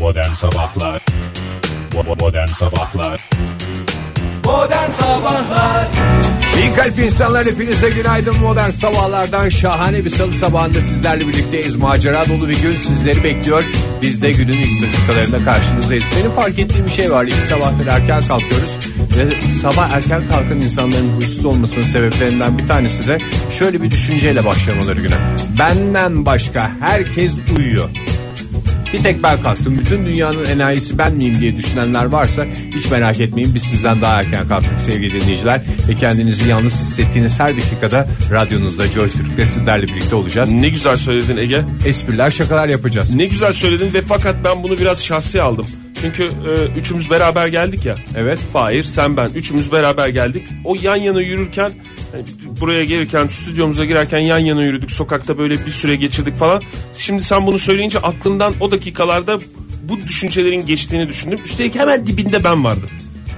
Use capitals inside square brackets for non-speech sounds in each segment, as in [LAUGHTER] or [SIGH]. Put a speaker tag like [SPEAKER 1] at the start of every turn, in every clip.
[SPEAKER 1] Modern Sabahlar Bo- Modern Sabahlar
[SPEAKER 2] Modern Sabahlar İyi kalp insanlar hepinize günaydın Modern Sabahlar'dan şahane bir salı sabahında sizlerle birlikteyiz Macera dolu bir gün sizleri bekliyor Biz de günün ilk dakikalarında karşınızdayız Benim fark ettiğim bir şey var İki sabahdır erken kalkıyoruz Ve sabah erken kalkan insanların huysuz olmasının sebeplerinden bir tanesi de Şöyle bir düşünceyle başlamaları güne Benden başka herkes uyuyor bir tek ben kalktım. Bütün dünyanın enayisi ben miyim diye düşünenler varsa hiç merak etmeyin. Biz sizden daha erken kalktık sevgili dinleyiciler. Ve kendinizi yalnız hissettiğiniz her dakikada radyonuzda Joy Türk'te sizlerle birlikte olacağız.
[SPEAKER 3] Ne güzel söyledin Ege.
[SPEAKER 2] Espriler şakalar yapacağız.
[SPEAKER 3] Ne güzel söyledin ve fakat ben bunu biraz şahsi aldım. Çünkü e, üçümüz beraber geldik ya.
[SPEAKER 2] Evet.
[SPEAKER 3] Fahir, sen ben. Üçümüz beraber geldik. O yan yana yürürken hani buraya gelirken stüdyomuza girerken yan yana yürüdük. Sokakta böyle bir süre geçirdik falan. Şimdi sen bunu söyleyince aklımdan o dakikalarda bu düşüncelerin geçtiğini düşündüm. Üstelik hemen dibinde ben vardım.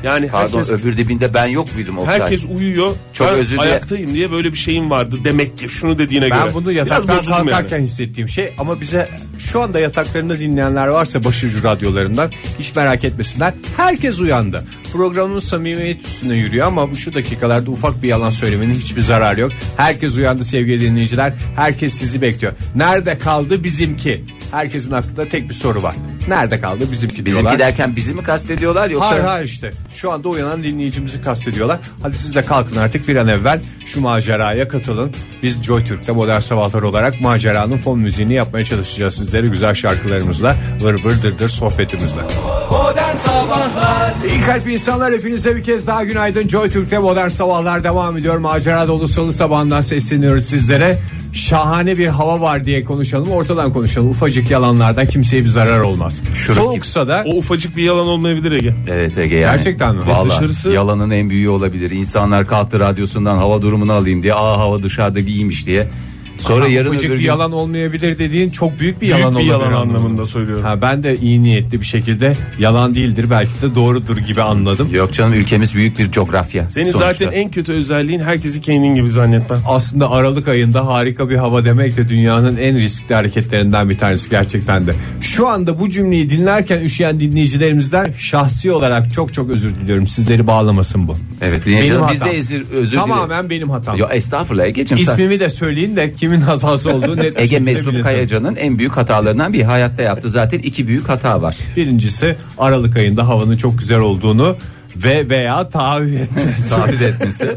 [SPEAKER 3] Yani
[SPEAKER 4] Pardon
[SPEAKER 3] herkes
[SPEAKER 4] öbür dibinde ben yok muydum Oktay?
[SPEAKER 3] herkes uyuyor.
[SPEAKER 4] Çok
[SPEAKER 3] ben
[SPEAKER 4] özür dile-
[SPEAKER 3] ayaktayım diye böyle bir şeyim vardı demek ki. Şunu dediğine göre.
[SPEAKER 2] Ben bunu
[SPEAKER 3] Biraz
[SPEAKER 2] yataktan
[SPEAKER 3] bozuldum yani.
[SPEAKER 2] kalkarken hissettiğim şey ama bize şu anda yataklarında dinleyenler varsa başucu radyolarından hiç merak etmesinler. Herkes uyandı. Programımız samimiyet üstüne yürüyor ama bu şu dakikalarda ufak bir yalan söylemenin hiçbir zararı yok. Herkes uyandı sevgili dinleyiciler. Herkes sizi bekliyor. Nerede kaldı bizimki? Herkesin aklında tek bir soru var. Nerede kaldı bizimki diyorlar.
[SPEAKER 4] Bizimki derken bizi mi kastediyorlar yoksa?
[SPEAKER 2] Hayır hayır işte. Şu anda uyanan dinleyicimizi kastediyorlar. Hadi siz de kalkın artık bir an evvel şu maceraya katılın. Biz JoyTürk'te modern sabahlar olarak maceranın fon müziğini yapmaya çalışacağız sizlere güzel şarkılarımızla, vır vır dır dır sohbetimizle. İyi kalp insanlar hepinize bir kez daha günaydın. Joy Türk'te modern sabahlar devam ediyor. Macera dolu salı sabahından sesleniyoruz sizlere. Şahane bir hava var diye konuşalım. Ortadan konuşalım. Ufacık yalanlardan kimseye bir zarar olmaz. Soğuksa da
[SPEAKER 3] O ufacık bir yalan olmayabilir Ege.
[SPEAKER 4] Evet Ege yani.
[SPEAKER 2] Gerçekten mi?
[SPEAKER 4] Vallahi
[SPEAKER 3] Dışarısı-
[SPEAKER 4] yalanın en büyüğü olabilir. İnsanlar kalktı radyosundan hava durumunu alayım diye. Aa hava dışarıda bir iyiymiş diye. Sonra yarın
[SPEAKER 2] ufacık
[SPEAKER 4] öbür
[SPEAKER 2] bir
[SPEAKER 4] gün
[SPEAKER 2] yalan olmayabilir dediğin çok büyük bir
[SPEAKER 3] Büyük
[SPEAKER 2] yalan
[SPEAKER 3] bir
[SPEAKER 2] olabilir
[SPEAKER 3] yalan anlamında söylüyorum.
[SPEAKER 2] Ha, ben de iyi niyetli bir şekilde yalan değildir belki de doğrudur gibi anladım.
[SPEAKER 4] Yok canım ülkemiz büyük bir coğrafya.
[SPEAKER 3] Senin
[SPEAKER 4] sonuçta.
[SPEAKER 3] zaten en kötü özelliğin herkesi kendin gibi zannetmen.
[SPEAKER 2] Aslında Aralık ayında harika bir hava demek de dünyanın en riskli hareketlerinden bir tanesi gerçekten de. Şu anda bu cümleyi dinlerken üşüyen dinleyicilerimizden şahsi olarak çok çok özür diliyorum. Sizleri bağlamasın bu.
[SPEAKER 4] Evet dinleyicilerim, biz de
[SPEAKER 2] hatam.
[SPEAKER 4] ezir, özür
[SPEAKER 2] Tamamen benim hatam.
[SPEAKER 4] Yo, estağfurullah Ege'cim sen-
[SPEAKER 2] İsmimi de söyleyin de kimin hatası olduğu net bir
[SPEAKER 4] Ege
[SPEAKER 2] şekilde
[SPEAKER 4] Mesut
[SPEAKER 2] bilesin.
[SPEAKER 4] Kayaca'nın en büyük hatalarından bir hayatta yaptı. Zaten iki büyük hata var.
[SPEAKER 2] Birincisi Aralık ayında havanın çok güzel olduğunu ve veya taahhüt
[SPEAKER 4] [LAUGHS]
[SPEAKER 2] etmesi. [LAUGHS]
[SPEAKER 4] Taahhüt etmesi.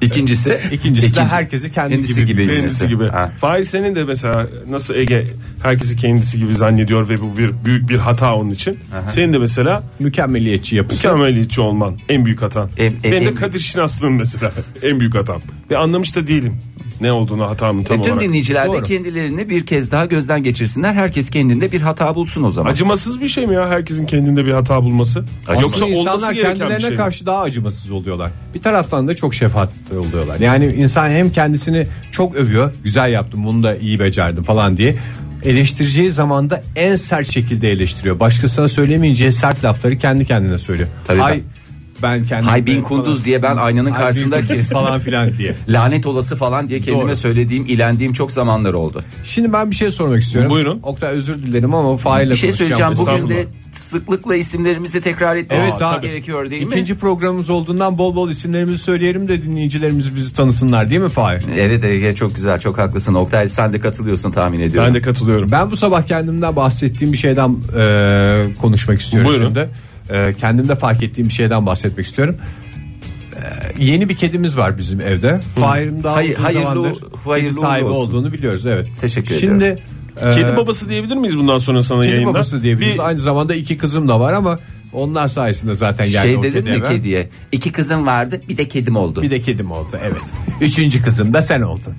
[SPEAKER 4] İkincisi,
[SPEAKER 2] İkincisi de herkesi kendi
[SPEAKER 4] kendisi
[SPEAKER 2] gibi
[SPEAKER 4] gibi.
[SPEAKER 3] Kendisi gibi.
[SPEAKER 4] Ha.
[SPEAKER 3] Fahir senin de mesela nasıl Ege herkesi kendisi gibi zannediyor ve bu bir büyük bir hata onun için. Senin de mesela
[SPEAKER 2] Mükemmeliyetçi yapısı.
[SPEAKER 3] mükemmeliyetçi olman en büyük hatan.
[SPEAKER 4] En- en-
[SPEAKER 3] Benim de
[SPEAKER 4] en-
[SPEAKER 3] Kadir Şinaslığım mesela [LAUGHS] en büyük hatam. Ve anlamış da değilim ne olduğunu hatamın tam
[SPEAKER 4] Bütün
[SPEAKER 3] olarak.
[SPEAKER 4] dinleyiciler de
[SPEAKER 2] Doğru.
[SPEAKER 4] kendilerini bir kez daha gözden geçirsinler. Herkes kendinde bir hata bulsun o zaman.
[SPEAKER 3] Acımasız bir şey mi ya herkesin kendinde bir hata bulması?
[SPEAKER 4] Acımasız.
[SPEAKER 3] Yoksa
[SPEAKER 2] Aslında
[SPEAKER 3] olması
[SPEAKER 2] insanlar
[SPEAKER 3] gereken bir
[SPEAKER 2] kendilerine
[SPEAKER 3] şey mi?
[SPEAKER 2] karşı daha acımasız oluyorlar. Bir taraftan da çok şefkatli oluyorlar. Yani insan hem kendisini çok övüyor. Güzel yaptım bunu da iyi becerdim falan diye. Eleştireceği zaman da en sert şekilde eleştiriyor. Başkasına söylemeyeceği sert lafları kendi kendine söylüyor.
[SPEAKER 4] Tabii
[SPEAKER 2] Hay
[SPEAKER 4] ben-
[SPEAKER 2] ben kendim
[SPEAKER 4] Hay bin kunduz diye ben aynanın karşısındaki
[SPEAKER 2] falan filan
[SPEAKER 4] [LAUGHS]
[SPEAKER 2] diye.
[SPEAKER 4] lanet olası falan diye kendime
[SPEAKER 2] Doğru.
[SPEAKER 4] söylediğim, ilendiğim çok zamanlar oldu.
[SPEAKER 2] Şimdi ben bir şey sormak istiyorum.
[SPEAKER 3] Buyurun.
[SPEAKER 2] Oktay özür dilerim ama faile
[SPEAKER 4] Bir şey söyleyeceğim. Bugün
[SPEAKER 3] Estağfurullah.
[SPEAKER 4] de sıklıkla isimlerimizi tekrar etmemiz
[SPEAKER 2] Evet
[SPEAKER 4] evet,
[SPEAKER 2] daha
[SPEAKER 4] gerekiyor değil
[SPEAKER 2] İkinci
[SPEAKER 4] mi?
[SPEAKER 2] programımız olduğundan bol bol isimlerimizi söyleyelim de dinleyicilerimiz bizi tanısınlar değil mi Fahir?
[SPEAKER 4] Evet Ege çok güzel çok haklısın Oktay sen de katılıyorsun tahmin ediyorum.
[SPEAKER 3] Ben de katılıyorum.
[SPEAKER 2] Ben bu sabah kendimden bahsettiğim bir şeyden e, konuşmak istiyorum
[SPEAKER 3] Buyurun.
[SPEAKER 2] şimdi. E, kendimde fark ettiğim bir şeyden bahsetmek istiyorum. E, yeni bir kedimiz var bizim evde. Fahir'in daha
[SPEAKER 4] Hayır-
[SPEAKER 2] uzun
[SPEAKER 4] hayırlı-
[SPEAKER 2] zamandır
[SPEAKER 4] hayırlı
[SPEAKER 2] kedi sahibi
[SPEAKER 4] uğurlu olsun.
[SPEAKER 2] olduğunu biliyoruz evet.
[SPEAKER 4] Teşekkür
[SPEAKER 2] şimdi, e,
[SPEAKER 4] ediyorum.
[SPEAKER 3] Kedi babası diyebilir miyiz bundan sonra sana
[SPEAKER 2] kedi
[SPEAKER 3] yayında?
[SPEAKER 2] babası diyebiliriz.
[SPEAKER 3] Bir-
[SPEAKER 2] Aynı zamanda iki kızım da var ama onlar sayesinde zaten geldi
[SPEAKER 4] şey
[SPEAKER 2] o
[SPEAKER 4] dedin
[SPEAKER 2] kedi
[SPEAKER 4] mi
[SPEAKER 2] eve.
[SPEAKER 4] kediye? İki kızım vardı bir de kedim oldu.
[SPEAKER 2] Bir de kedim oldu evet. Üçüncü kızım da sen oldun.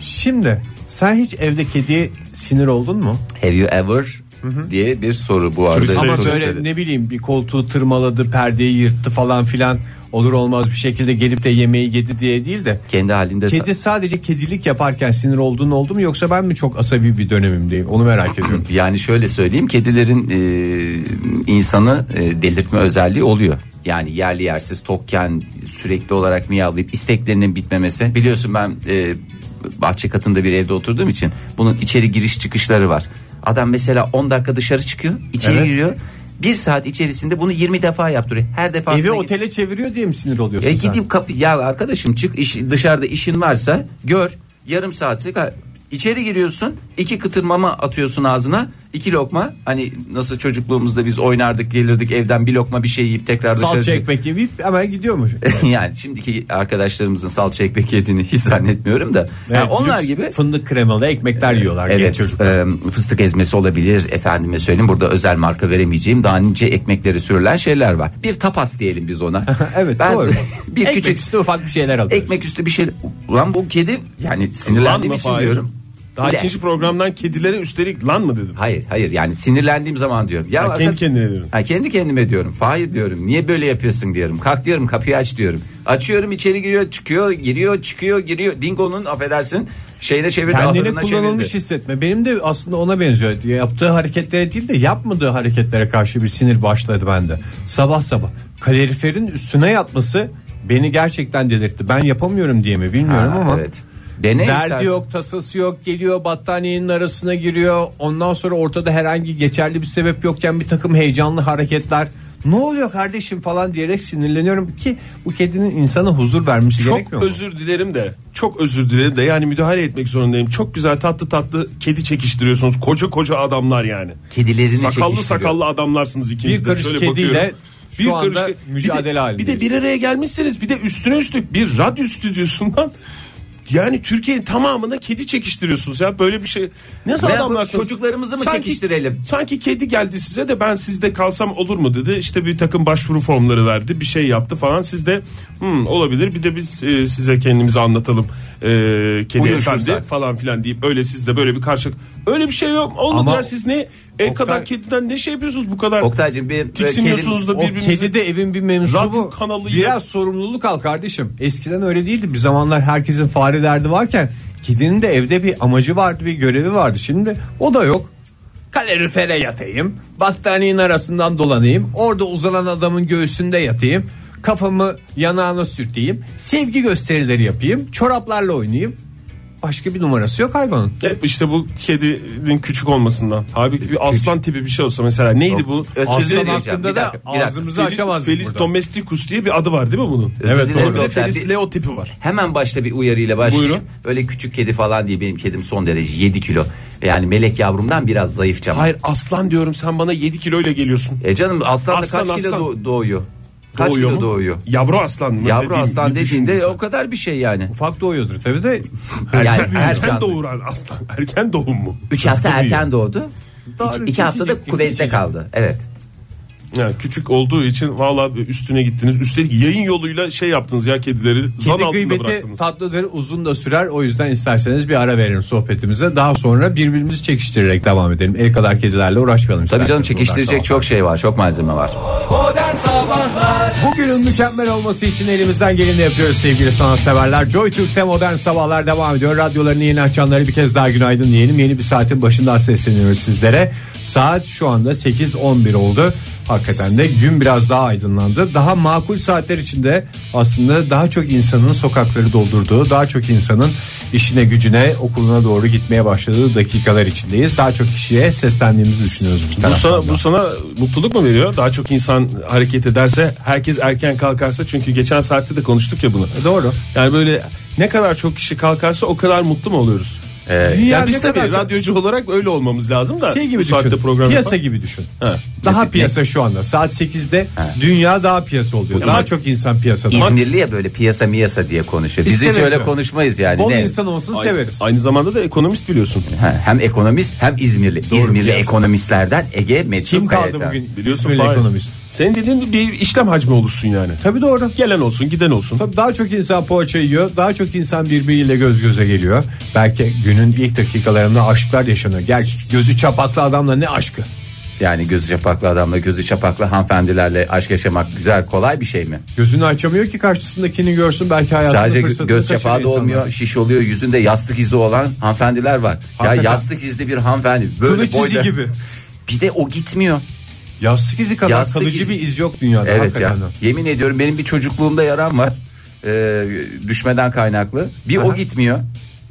[SPEAKER 2] Şimdi sen hiç evde kediye sinir oldun mu?
[SPEAKER 4] Have you ever diye bir soru bu arada.
[SPEAKER 3] Turistleri-
[SPEAKER 2] Ama
[SPEAKER 3] Turistleri.
[SPEAKER 2] böyle ne bileyim bir koltuğu tırmaladı, perdeyi yırttı falan filan olur olmaz bir şekilde gelip de yemeği yedi diye değil de.
[SPEAKER 4] kendi halinde
[SPEAKER 2] Kedi sadece kedilik yaparken sinir olduğun oldu mu yoksa ben mi çok asabi bir dönemimdeyim onu merak ediyorum.
[SPEAKER 4] Yani şöyle söyleyeyim kedilerin e, insanı e, delirtme özelliği oluyor. Yani yerli yersiz tokken sürekli olarak miyavlayıp isteklerinin bitmemesi. Biliyorsun ben e, bahçe katında bir evde oturduğum için bunun içeri giriş çıkışları var. Adam mesela 10 dakika dışarı çıkıyor, içeri
[SPEAKER 2] Evet.
[SPEAKER 4] giriyor. Bir saat içerisinde bunu 20 defa yaptırıyor. Her defasında
[SPEAKER 2] Evi otele çeviriyor diye mi sinir oluyorsun
[SPEAKER 4] e
[SPEAKER 2] sen?
[SPEAKER 4] gideyim kapı ya arkadaşım çık iş, dışarıda işin varsa gör yarım saatlik içeri giriyorsun iki kıtırmama atıyorsun ağzına iki lokma hani nasıl çocukluğumuzda biz oynardık gelirdik evden bir lokma bir şey yiyip tekrar dışarı
[SPEAKER 2] Salça
[SPEAKER 4] çık-
[SPEAKER 2] ekmek yiyip hemen gidiyormuş.
[SPEAKER 4] [LAUGHS] yani şimdiki arkadaşlarımızın salça ekmek yediğini hiç zannetmiyorum da Yani
[SPEAKER 2] Evet,
[SPEAKER 4] onlar
[SPEAKER 2] lüks
[SPEAKER 4] gibi
[SPEAKER 2] fındık kremalı ekmekler yiyorlar genç
[SPEAKER 4] Evet
[SPEAKER 2] çocuk.
[SPEAKER 4] e, fıstık ezmesi olabilir efendime söyleyeyim burada özel marka veremeyeceğim daha nice ekmekleri sürülen şeyler var bir tapas diyelim biz ona
[SPEAKER 2] [LAUGHS] evet
[SPEAKER 4] Ben-
[SPEAKER 2] doğru.
[SPEAKER 4] [LAUGHS] bir
[SPEAKER 2] Ekmek
[SPEAKER 4] küçük
[SPEAKER 2] üstü ufak bir şeyler alıyoruz.
[SPEAKER 4] ekmek üstü bir şey ulan bu kedi yani sinirlendiğim
[SPEAKER 3] Lan mı
[SPEAKER 4] için
[SPEAKER 3] Fahir?
[SPEAKER 4] diyorum
[SPEAKER 3] Daha
[SPEAKER 4] Bir de-
[SPEAKER 3] ikinci programdan kedilere üstelik lan mı dedim.
[SPEAKER 4] hayır hayır yani sinirlendiğim zaman diyorum ya
[SPEAKER 3] Ha, kendi
[SPEAKER 4] arkadaş-
[SPEAKER 3] kendine diyorum.
[SPEAKER 4] Ha, kendi kendime diyorum. Hayır diyorum. Niye böyle yapıyorsun diyorum. Kalk diyorum kapıyı aç diyorum. Açıyorum içeri giriyor çıkıyor giriyor çıkıyor giriyor. Dingo'nun affedersin şeyine çevirdi.
[SPEAKER 2] Kendini
[SPEAKER 4] ahırına
[SPEAKER 2] kullanılmış
[SPEAKER 4] çevirdi.
[SPEAKER 2] hissetme. Benim de aslında ona benziyor. Yaptığı hareketlere değil de yapmadığı hareketlere karşı bir sinir başladı bende. Sabah sabah kaloriferin üstüne yatması beni gerçekten delirtti. Ben yapamıyorum diye mi bilmiyorum
[SPEAKER 4] Ha,
[SPEAKER 2] ama.
[SPEAKER 4] evet. Dene
[SPEAKER 2] Derdi
[SPEAKER 4] istersen.
[SPEAKER 2] yok tasası yok geliyor battaniyenin arasına giriyor ondan sonra ortada herhangi geçerli bir sebep yokken bir takım heyecanlı hareketler ne oluyor kardeşim falan diyerek sinirleniyorum ki bu kedinin insana huzur vermesi
[SPEAKER 3] Çok
[SPEAKER 2] gerekmiyor mu?
[SPEAKER 3] özür dilerim de çok özür dilerim de yani müdahale etmek zorundayım. Çok güzel tatlı tatlı kedi çekiştiriyorsunuz. Koca koca adamlar yani.
[SPEAKER 4] Kedilerini
[SPEAKER 3] Sakallı
[SPEAKER 4] çekiştiriyor.
[SPEAKER 3] sakallı adamlarsınız ikiniz
[SPEAKER 2] Bir
[SPEAKER 3] de.
[SPEAKER 2] karış
[SPEAKER 3] Şöyle
[SPEAKER 2] kediyle
[SPEAKER 3] bakıyorum.
[SPEAKER 2] şu anda
[SPEAKER 3] ke-
[SPEAKER 2] mücadele
[SPEAKER 3] bir de,
[SPEAKER 2] halindeyiz.
[SPEAKER 3] Bir de bir araya gelmişsiniz bir de üstüne üstlük bir radyo stüdyosundan yani Türkiye'nin tamamında kedi çekiştiriyorsunuz ya böyle bir şey. Nasıl
[SPEAKER 4] Ne yapalım,
[SPEAKER 3] adamlarsınız?
[SPEAKER 4] çocuklarımızı mı çekiştirelim?
[SPEAKER 3] Sanki kedi geldi size de ben sizde kalsam olur mu dedi. İşte bir takım başvuru formları verdi bir şey yaptı falan. Siz de "Hmm, olabilir bir de biz e, size kendimizi anlatalım. E, kedi
[SPEAKER 4] Buyursunlar.
[SPEAKER 3] efendi falan filan deyip öyle sizde böyle bir karşılık. Öyle bir şey yok. Olmadı
[SPEAKER 2] Ama
[SPEAKER 3] ya siz ne ev
[SPEAKER 2] Oktay-
[SPEAKER 3] kadar kediden ne şey yapıyorsunuz bu kadar?
[SPEAKER 4] Oktaycığım bir
[SPEAKER 3] Tiksiniyorsunuz da
[SPEAKER 2] O
[SPEAKER 3] birbirinizi.
[SPEAKER 2] kedi de evin bir
[SPEAKER 3] Radyo
[SPEAKER 2] mensubu.
[SPEAKER 3] kanalı ile-
[SPEAKER 2] Biraz sorumluluk al kardeşim. Eskiden öyle değildi. Bir zamanlar herkesin fare derdi varken kedinin de evde bir amacı vardı, bir görevi vardı. Şimdi o da yok. Kalorifere yatayım. Battaniyenin arasından dolanayım. Orada uzanan adamın göğsünde yatayım. Kafamı yanağına sürteyim. Sevgi gösterileri yapayım. Çoraplarla oynayayım. Başka bir numarası yok hayvanın.
[SPEAKER 3] Hep E, işte bu kedinin küçük olmasından. Abi bir aslan tipi bir şey olsa mesela neydi bu?
[SPEAKER 4] Özür
[SPEAKER 2] Aslan
[SPEAKER 4] dileyeceğim.
[SPEAKER 2] hakkında
[SPEAKER 4] Bir
[SPEAKER 2] da
[SPEAKER 4] dakika, bir dakika.
[SPEAKER 2] ağzımızı açamazdık
[SPEAKER 3] Felis
[SPEAKER 2] burada.
[SPEAKER 3] domesticus diye bir adı var değil mi bunun?
[SPEAKER 4] Evet, dilerim doğru.
[SPEAKER 3] Bir de
[SPEAKER 4] Doktor,
[SPEAKER 3] Felis
[SPEAKER 4] bir-
[SPEAKER 3] leo tipi var.
[SPEAKER 4] Hemen başta bir uyarıyla başlayayım.
[SPEAKER 3] Buyurun.
[SPEAKER 4] Öyle küçük kedi falan değil benim kedim son derece 7 kilo. Yani melek yavrumdan biraz zayıfça.
[SPEAKER 3] Hayır aslan diyorum sen bana 7 kiloyla geliyorsun.
[SPEAKER 4] E canım aslan da
[SPEAKER 3] Aslan,
[SPEAKER 4] kaç kilo
[SPEAKER 3] aslan.
[SPEAKER 4] do- doğuyor? Kaç
[SPEAKER 3] Doğuyor
[SPEAKER 4] kilo
[SPEAKER 3] mu?
[SPEAKER 4] doğuyor?
[SPEAKER 3] Yavru aslan mı?
[SPEAKER 4] Yavru
[SPEAKER 3] Dediğim
[SPEAKER 4] aslan
[SPEAKER 3] gibi
[SPEAKER 4] dediğinde
[SPEAKER 3] düşündüm
[SPEAKER 4] o kadar bir şey yani.
[SPEAKER 2] Ufak doğuyordur tabii de. [LAUGHS]
[SPEAKER 3] sen.
[SPEAKER 4] yani
[SPEAKER 3] Erken,
[SPEAKER 4] her
[SPEAKER 3] erken
[SPEAKER 4] canlı.
[SPEAKER 3] doğuran aslan. Erken doğum mu?
[SPEAKER 4] 3 hafta
[SPEAKER 3] Nasıl
[SPEAKER 4] erken doğdu.
[SPEAKER 2] Daha
[SPEAKER 4] 2 iki haftada
[SPEAKER 2] küçücük,
[SPEAKER 4] kuvezde
[SPEAKER 2] küçücük.
[SPEAKER 4] kaldı. Evet.
[SPEAKER 3] büyüyor? Ya, küçük olduğu için valla üstüne gittiniz. Üstelik yayın yoluyla şey yaptınız ya kedileri. zan
[SPEAKER 2] Kedi
[SPEAKER 3] altında
[SPEAKER 2] gıybeti
[SPEAKER 3] bıraktınız.
[SPEAKER 2] tatlıdır uzun da sürer o yüzden isterseniz bir ara verelim sohbetimize daha sonra birbirimizi çekiştirerek devam edelim el kadar kedilerle uğraşmayalım.
[SPEAKER 4] Tabii
[SPEAKER 2] isterseniz
[SPEAKER 4] canım
[SPEAKER 2] buradan
[SPEAKER 4] çekiştirecek
[SPEAKER 2] sonra.
[SPEAKER 4] çok şey var. Çok malzeme var.
[SPEAKER 5] Modern Sabahlar
[SPEAKER 2] Bugünün mükemmel olması için elimizden geleni yapıyoruz sevgili sanatseverler. Joy Türk'te modern sabahlar devam ediyor. Radyolarını yeni açanlara bir kez daha günaydın diyelim. Yeni bir saatin başından sesleniyoruz sizlere. Saat şu anda 8.11 oldu. Hakikaten de gün biraz daha aydınlandı. Daha makul saatler içinde aslında daha çok insanın sokakları doldurduğu, daha çok insanın işine gücüne okuluna doğru gitmeye başladığı dakikalar içindeyiz. Daha çok kişiye seslendiğimizi düşünüyoruz. bir
[SPEAKER 3] Bu
[SPEAKER 2] taraftan da.
[SPEAKER 3] sana, bu sana mutluluk mu veriyor? Daha çok insan hareket ederse, herkes erken kalkarsa çünkü geçen saatte de konuştuk ya bunu.
[SPEAKER 2] E, Doğru.
[SPEAKER 3] Yani böyle ne kadar çok kişi kalkarsa o kadar mutlu mu oluyoruz?
[SPEAKER 2] Dünya
[SPEAKER 4] Ee,
[SPEAKER 3] yani biz
[SPEAKER 2] ne
[SPEAKER 3] tabii
[SPEAKER 2] kadar-
[SPEAKER 3] radyocu olarak öyle olmamız lazım da
[SPEAKER 2] şey gibi
[SPEAKER 3] bu saatte
[SPEAKER 2] düşün.
[SPEAKER 3] program
[SPEAKER 2] piyasa
[SPEAKER 3] yapan-
[SPEAKER 2] gibi düşün.
[SPEAKER 3] Ha.
[SPEAKER 2] Daha
[SPEAKER 4] Ne-
[SPEAKER 2] piyasa şu anda. Saat 8'de dünya daha piyasa oluyor. Daha
[SPEAKER 3] Mat-
[SPEAKER 2] çok insan piyasada.
[SPEAKER 4] İzmirli ya böyle piyasa miyasa diye konuşuyor. Biz hiç
[SPEAKER 2] İstemez
[SPEAKER 4] öyle
[SPEAKER 2] mi?
[SPEAKER 4] konuşmayız yani.
[SPEAKER 2] Bol
[SPEAKER 4] Ne?
[SPEAKER 2] insan olsun
[SPEAKER 3] Ay-
[SPEAKER 2] severiz.
[SPEAKER 3] Aynı zamanda da ekonomist biliyorsun.
[SPEAKER 4] Ha, hem ekonomist hem İzmirli. İzmirli
[SPEAKER 2] piyasa.
[SPEAKER 4] ekonomistlerden Ege Mesut
[SPEAKER 2] Kim kaldı
[SPEAKER 4] Kayacan.
[SPEAKER 2] bugün?
[SPEAKER 3] Biliyorsun
[SPEAKER 2] İzmirli
[SPEAKER 3] Fahir.
[SPEAKER 2] ekonomist.
[SPEAKER 3] Senin dediğin bir işlem hacmi olursun yani.
[SPEAKER 2] Tabii doğru.
[SPEAKER 3] Gelen olsun, giden olsun.
[SPEAKER 2] Tabii daha çok insan poğaça yiyor. Daha çok insan birbiriyle göz göze geliyor. Belki günün ilk dakikalarında aşklar yaşanıyor. Gerçi gözü çapaklı adamla ne aşkı?
[SPEAKER 4] Yani gözü çapaklı adamla gözü çapaklı hanımefendilerle aşk yaşamak güzel kolay bir şey mi?
[SPEAKER 2] Gözünü açamıyor ki karşısındakini görsün belki hayatında
[SPEAKER 4] Sadece
[SPEAKER 2] fırsatını
[SPEAKER 4] göz
[SPEAKER 2] kaçırıyor
[SPEAKER 4] çapağı da
[SPEAKER 2] insanlar.
[SPEAKER 4] olmuyor, şiş oluyor, yüzünde yastık izi olan hanımefendiler var.
[SPEAKER 2] Hakikaten.
[SPEAKER 4] Ya yastık izli bir hanımefendi. Böyle
[SPEAKER 2] Kılıç
[SPEAKER 4] boyda-
[SPEAKER 2] izi gibi.
[SPEAKER 4] Bir de o gitmiyor.
[SPEAKER 2] Yastık izi kadar
[SPEAKER 4] Yastık
[SPEAKER 2] kalıcı
[SPEAKER 4] izi.
[SPEAKER 2] bir iz yok dünyada
[SPEAKER 4] Evet
[SPEAKER 2] hakikaten. de.
[SPEAKER 4] ya. Yemin ediyorum benim bir çocukluğumda yaram var. Ee, düşmeden kaynaklı. Bir o gitmiyor.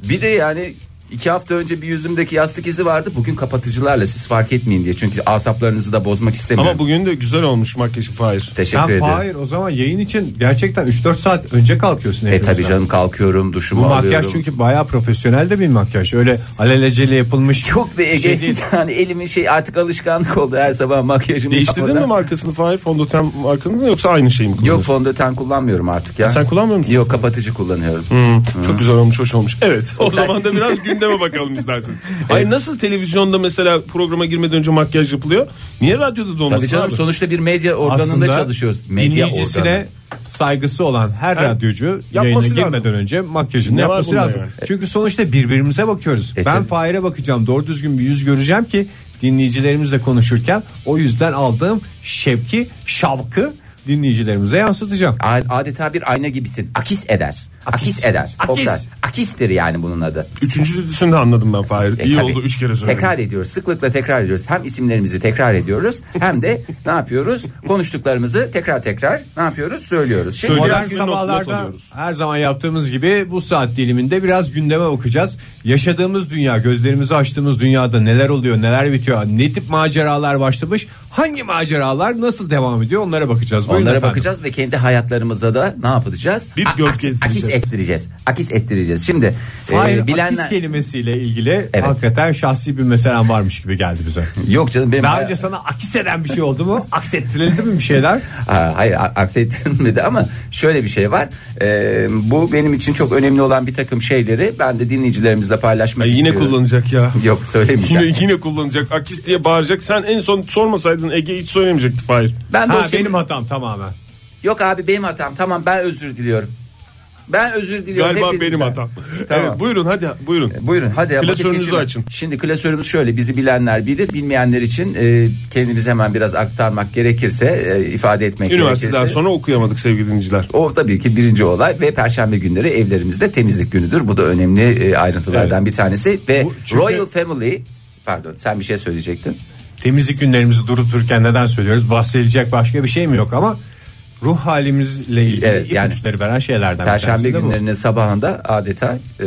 [SPEAKER 4] Bir de yani iki hafta önce bir yüzümdeki yastık izi vardı. Bugün kapatıcılarla siz fark etmeyin diye. Çünkü asaplarınızı da bozmak istemiyorum.
[SPEAKER 3] Ama bugün de güzel olmuş makyajı Fahir.
[SPEAKER 4] Teşekkür E,
[SPEAKER 2] Sen
[SPEAKER 4] ederim.
[SPEAKER 2] Fahir o zaman yayın için gerçekten 3-4 saat önce kalkıyorsun
[SPEAKER 4] E
[SPEAKER 2] evimizden.
[SPEAKER 4] tabii canım kalkıyorum
[SPEAKER 2] Bu
[SPEAKER 4] duşumu
[SPEAKER 2] makyaj
[SPEAKER 4] alıyorum.
[SPEAKER 2] çünkü bayağı profesyonel de bir makyaj. Öyle alelacele yapılmış.
[SPEAKER 4] [LAUGHS] Yok be Ege
[SPEAKER 2] şey değil.
[SPEAKER 4] yani elimin şey artık alışkanlık oldu her sabah makyajımı
[SPEAKER 3] Değiştirdin mi
[SPEAKER 4] yapmadan.
[SPEAKER 3] markasını Fahir? Fondöten markanızı yoksa aynı şey mi
[SPEAKER 4] Yok
[SPEAKER 3] kullanıyorsun?
[SPEAKER 4] fondöten kullanmıyorum artık ya.
[SPEAKER 3] Sen kullanmıyor musun? Hmm.
[SPEAKER 4] Yok kapatıcı kullanıyorum.
[SPEAKER 3] Hı, Çok güzel olmuş, hoş olmuş. Evet. O
[SPEAKER 4] Ters-
[SPEAKER 3] zaman da biraz gündeme bakalım
[SPEAKER 4] [LAUGHS]
[SPEAKER 3] istersen. Hayır nasıl televizyonda mesela programa girmeden önce makyaj yapılıyor? Niye radyoda da olmasın
[SPEAKER 4] Tabii canım
[SPEAKER 3] abi?
[SPEAKER 4] sonuçta bir medya organında
[SPEAKER 2] Aslında
[SPEAKER 4] çalışıyoruz. Medya
[SPEAKER 2] dinleyicisine
[SPEAKER 4] organı.
[SPEAKER 2] saygısı olan her radyocu yayına
[SPEAKER 3] lazım.
[SPEAKER 2] girmeden önce makyajını
[SPEAKER 3] Ne var
[SPEAKER 2] yapması
[SPEAKER 3] bunda
[SPEAKER 2] lazım.
[SPEAKER 3] yani?
[SPEAKER 2] Çünkü sonuçta birbirimize bakıyoruz.
[SPEAKER 4] E,
[SPEAKER 2] ben
[SPEAKER 4] tabii.
[SPEAKER 2] Fahir'e bakacağım. Doğru düzgün bir yüz göreceğim ki dinleyicilerimizle konuşurken o yüzden aldığım şevki, şavkı dinleyicilerimize yansıtacağım.
[SPEAKER 4] A- Adeta bir ayna gibisin. Akis eder. Akis, eder.
[SPEAKER 2] Akis.
[SPEAKER 4] Oktay. Akistir yani bunun adı.
[SPEAKER 3] Üçüncüsünü de anladım ben Fahir.
[SPEAKER 4] E,
[SPEAKER 3] İyi
[SPEAKER 4] tabii.
[SPEAKER 3] oldu üç kere söyledim.
[SPEAKER 4] Tekrar ediyoruz. Sıklıkla tekrar ediyoruz. Hem isimlerimizi tekrar ediyoruz hem de ne yapıyoruz? Konuştuklarımızı tekrar tekrar ne yapıyoruz? Söylüyoruz. Şimdi
[SPEAKER 3] Söyle-
[SPEAKER 2] Modern
[SPEAKER 3] Biraz gün not- not
[SPEAKER 2] sabahlarda
[SPEAKER 3] alıyoruz.
[SPEAKER 2] her zaman yaptığımız gibi bu saat diliminde biraz gündeme bakacağız. Yaşadığımız dünya, gözlerimizi açtığımız dünyada neler oluyor, neler bitiyor, ne tip maceralar başlamış, hangi maceralar nasıl devam ediyor onlara bakacağız. Buyurun
[SPEAKER 4] Onlara
[SPEAKER 2] efendim.
[SPEAKER 4] bakacağız ve kendi hayatlarımıza da ne yapacağız?
[SPEAKER 3] Bir
[SPEAKER 4] A-
[SPEAKER 3] göz
[SPEAKER 4] aks-
[SPEAKER 3] gezdireceğiz.
[SPEAKER 4] Akis ettireceğiz. Akis ettireceğiz. Şimdi
[SPEAKER 2] Hayır,
[SPEAKER 4] e, bilenler
[SPEAKER 2] akis kelimesiyle ilgili
[SPEAKER 4] Evet.
[SPEAKER 2] hakikaten şahsi bir meselen varmış gibi geldi bize.
[SPEAKER 4] yok canım benim
[SPEAKER 2] Daha
[SPEAKER 4] hayat-
[SPEAKER 2] önce sana akis eden bir şey oldu mu? Aksettirildi mi bir şeyler?
[SPEAKER 4] Ha, hayır a- [LAUGHS] aksettirmedi ama şöyle bir şey var. E, bu benim için çok önemli olan bir takım şeyleri ben de dinleyicilerimizle paylaşmak
[SPEAKER 3] Ay, yine
[SPEAKER 4] istiyorum.
[SPEAKER 3] kullanacak ya.
[SPEAKER 4] Yok söylemeyeceğim.
[SPEAKER 3] [LAUGHS] Yine, yine kullanacak. Akis diye bağıracak. Sen en son sormasaydın Ege hiç söylemeyecekti Fahir.
[SPEAKER 4] Ben şey-
[SPEAKER 2] Ha,
[SPEAKER 4] dosyamı-
[SPEAKER 2] benim hatam tamamen.
[SPEAKER 4] Yok abi benim hatam. Tamam ben özür diliyorum. Ben özür diliyorum.
[SPEAKER 3] Galiba
[SPEAKER 4] hepinizden.
[SPEAKER 3] benim hatam.
[SPEAKER 4] [LAUGHS] Tamam.
[SPEAKER 3] Evet, buyurun hadi buyurun.
[SPEAKER 4] Buyurun hadi. ya, vakit
[SPEAKER 3] Klasörünüzü
[SPEAKER 4] geçirme.
[SPEAKER 3] açın.
[SPEAKER 4] Şimdi klasörümüz şöyle bizi bilenler bilir bilmeyenler için e, kendimizi hemen biraz aktarmak gerekirse e, ifade etmek
[SPEAKER 3] Üniversiteden
[SPEAKER 4] gerekirse.
[SPEAKER 3] sonra okuyamadık sevgili dinleyiciler.
[SPEAKER 4] O tabii ki birinci olay ve perşembe günleri evlerimizde temizlik günüdür. Bu da önemli e, ayrıntılardan
[SPEAKER 3] Evet.
[SPEAKER 4] bir tanesi ve
[SPEAKER 2] Bu çünkü-
[SPEAKER 4] Royal Family pardon sen bir şey söyleyecektin.
[SPEAKER 2] temizlik günlerimizi duruturken neden söylüyoruz? Bahsedilecek başka bir şey mi yok ama ruh halimizle ilgili
[SPEAKER 4] Evet, yani
[SPEAKER 2] ipuçları veren şeylerden bir
[SPEAKER 4] Perşembe
[SPEAKER 2] tanesi de bu.
[SPEAKER 4] günlerinin sabahında adeta e,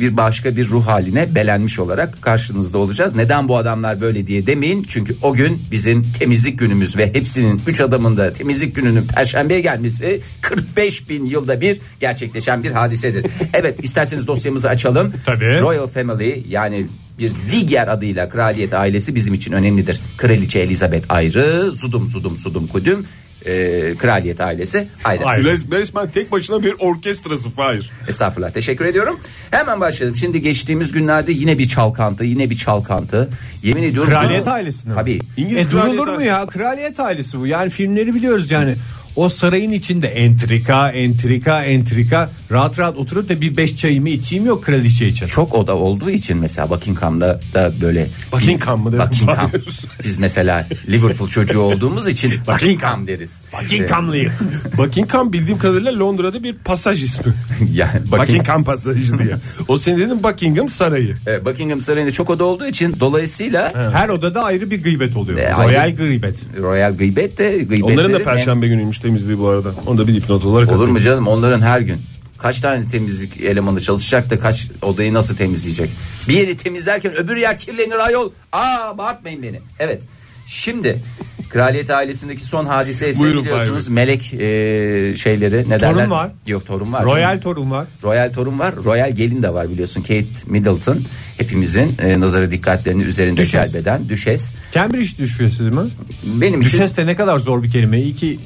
[SPEAKER 4] bir başka bir ruh haline belenmiş olarak karşınızda olacağız. Neden bu adamlar böyle diye demeyin. Çünkü o gün bizim temizlik günümüz ve hepsinin üç adamın da temizlik gününün perşembeye gelmesi 45 bin yılda bir gerçekleşen
[SPEAKER 2] [LAUGHS]
[SPEAKER 4] bir hadisedir. evet isterseniz dosyamızı açalım.
[SPEAKER 2] Tabii.
[SPEAKER 4] Royal Family yani bir diğer adıyla kraliyet ailesi bizim için önemlidir. Kraliçe Elizabeth ayrı, zudum zudum zudum kudüm e, kraliyet ailesi ayrı.
[SPEAKER 2] Ayrı.
[SPEAKER 3] [LAUGHS] Res- Resmen tek başına bir orkestrası Fahir.
[SPEAKER 4] Estağfurullah teşekkür ediyorum. Hemen başlayalım. Şimdi geçtiğimiz günlerde yine bir çalkantı yine bir çalkantı. Yemin ediyorum.
[SPEAKER 2] Kraliyet
[SPEAKER 4] Bunu-
[SPEAKER 2] ailesi mi?
[SPEAKER 4] Tabii.
[SPEAKER 3] İngiliz
[SPEAKER 2] e,
[SPEAKER 3] kraliyet
[SPEAKER 2] durulur mu
[SPEAKER 3] ailesi.
[SPEAKER 2] ya? Kraliyet ailesi bu. Yani filmleri biliyoruz yani. O sarayın içinde entrika, entrika, entrika. Rahat rahat oturup da bir beş çayımı içeyim yok kraliçe için.
[SPEAKER 4] Çok oda olduğu için mesela Buckingham'da da böyle.
[SPEAKER 3] Buckingham mı dedim?
[SPEAKER 4] Buckingham.
[SPEAKER 3] Hayır.
[SPEAKER 4] Biz mesela Liverpool çocuğu olduğumuz için Buckingham deriz.
[SPEAKER 2] Buckinghamlıyım.
[SPEAKER 3] Buckingham bildiğim kadarıyla Londra'da bir pasaj ismi.
[SPEAKER 4] Ee, [LAUGHS] yani Buckingham.
[SPEAKER 3] Buckingham pasajı diye. O senin dedin Buckingham sarayı.
[SPEAKER 4] Ee, Buckingham Sarayı'nda çok oda olduğu için dolayısıyla
[SPEAKER 2] Her odada ayrı bir gıybet oluyor.
[SPEAKER 4] E,
[SPEAKER 2] Royal
[SPEAKER 4] ayrı.
[SPEAKER 2] gıybet.
[SPEAKER 4] Royal Gıybet de gıybetlerin
[SPEAKER 3] Onların da
[SPEAKER 4] en-
[SPEAKER 3] perşembe günüymüş temizliği bu arada. Onu da bir dipnot olarak
[SPEAKER 4] Olur
[SPEAKER 3] atayım.
[SPEAKER 4] mu canım onların her gün kaç tane temizlik elemanı çalışacak da kaç odayı nasıl temizleyecek? Bir yeri temizlerken öbür yer kirlenir ayol. Aa bağırtmayın beni. Evet. Şimdi kraliyet ailesindeki son hadise ise
[SPEAKER 3] Buyurun
[SPEAKER 4] biliyorsunuz melek e, şeyleri ne derler?
[SPEAKER 2] var.
[SPEAKER 4] Yok torun var.
[SPEAKER 2] Royal torun var.
[SPEAKER 4] Royal torun var. Royal gelin de var biliyorsun. Kate Middleton hepimizin e, nazarı dikkatlerini üzerinde
[SPEAKER 2] Düşes.
[SPEAKER 4] celbeden düşes.
[SPEAKER 2] Cambridge düşesi mi?
[SPEAKER 4] Benim için
[SPEAKER 2] Düşes de ne kadar zor bir kelime. İyi ki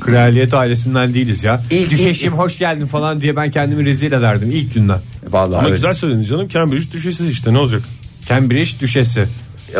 [SPEAKER 2] kraliyet ailesinden değiliz ya.
[SPEAKER 4] İlk-
[SPEAKER 2] Düşeşim
[SPEAKER 4] ilk-
[SPEAKER 2] hoş geldin falan diye ben kendimi rezil ederdim ilk günden.
[SPEAKER 4] vallahi
[SPEAKER 3] Ama
[SPEAKER 4] öyle.
[SPEAKER 3] güzel söyledin canım. Cambridge düşüşsüz işte ne olacak?
[SPEAKER 2] Cambridge düşesi.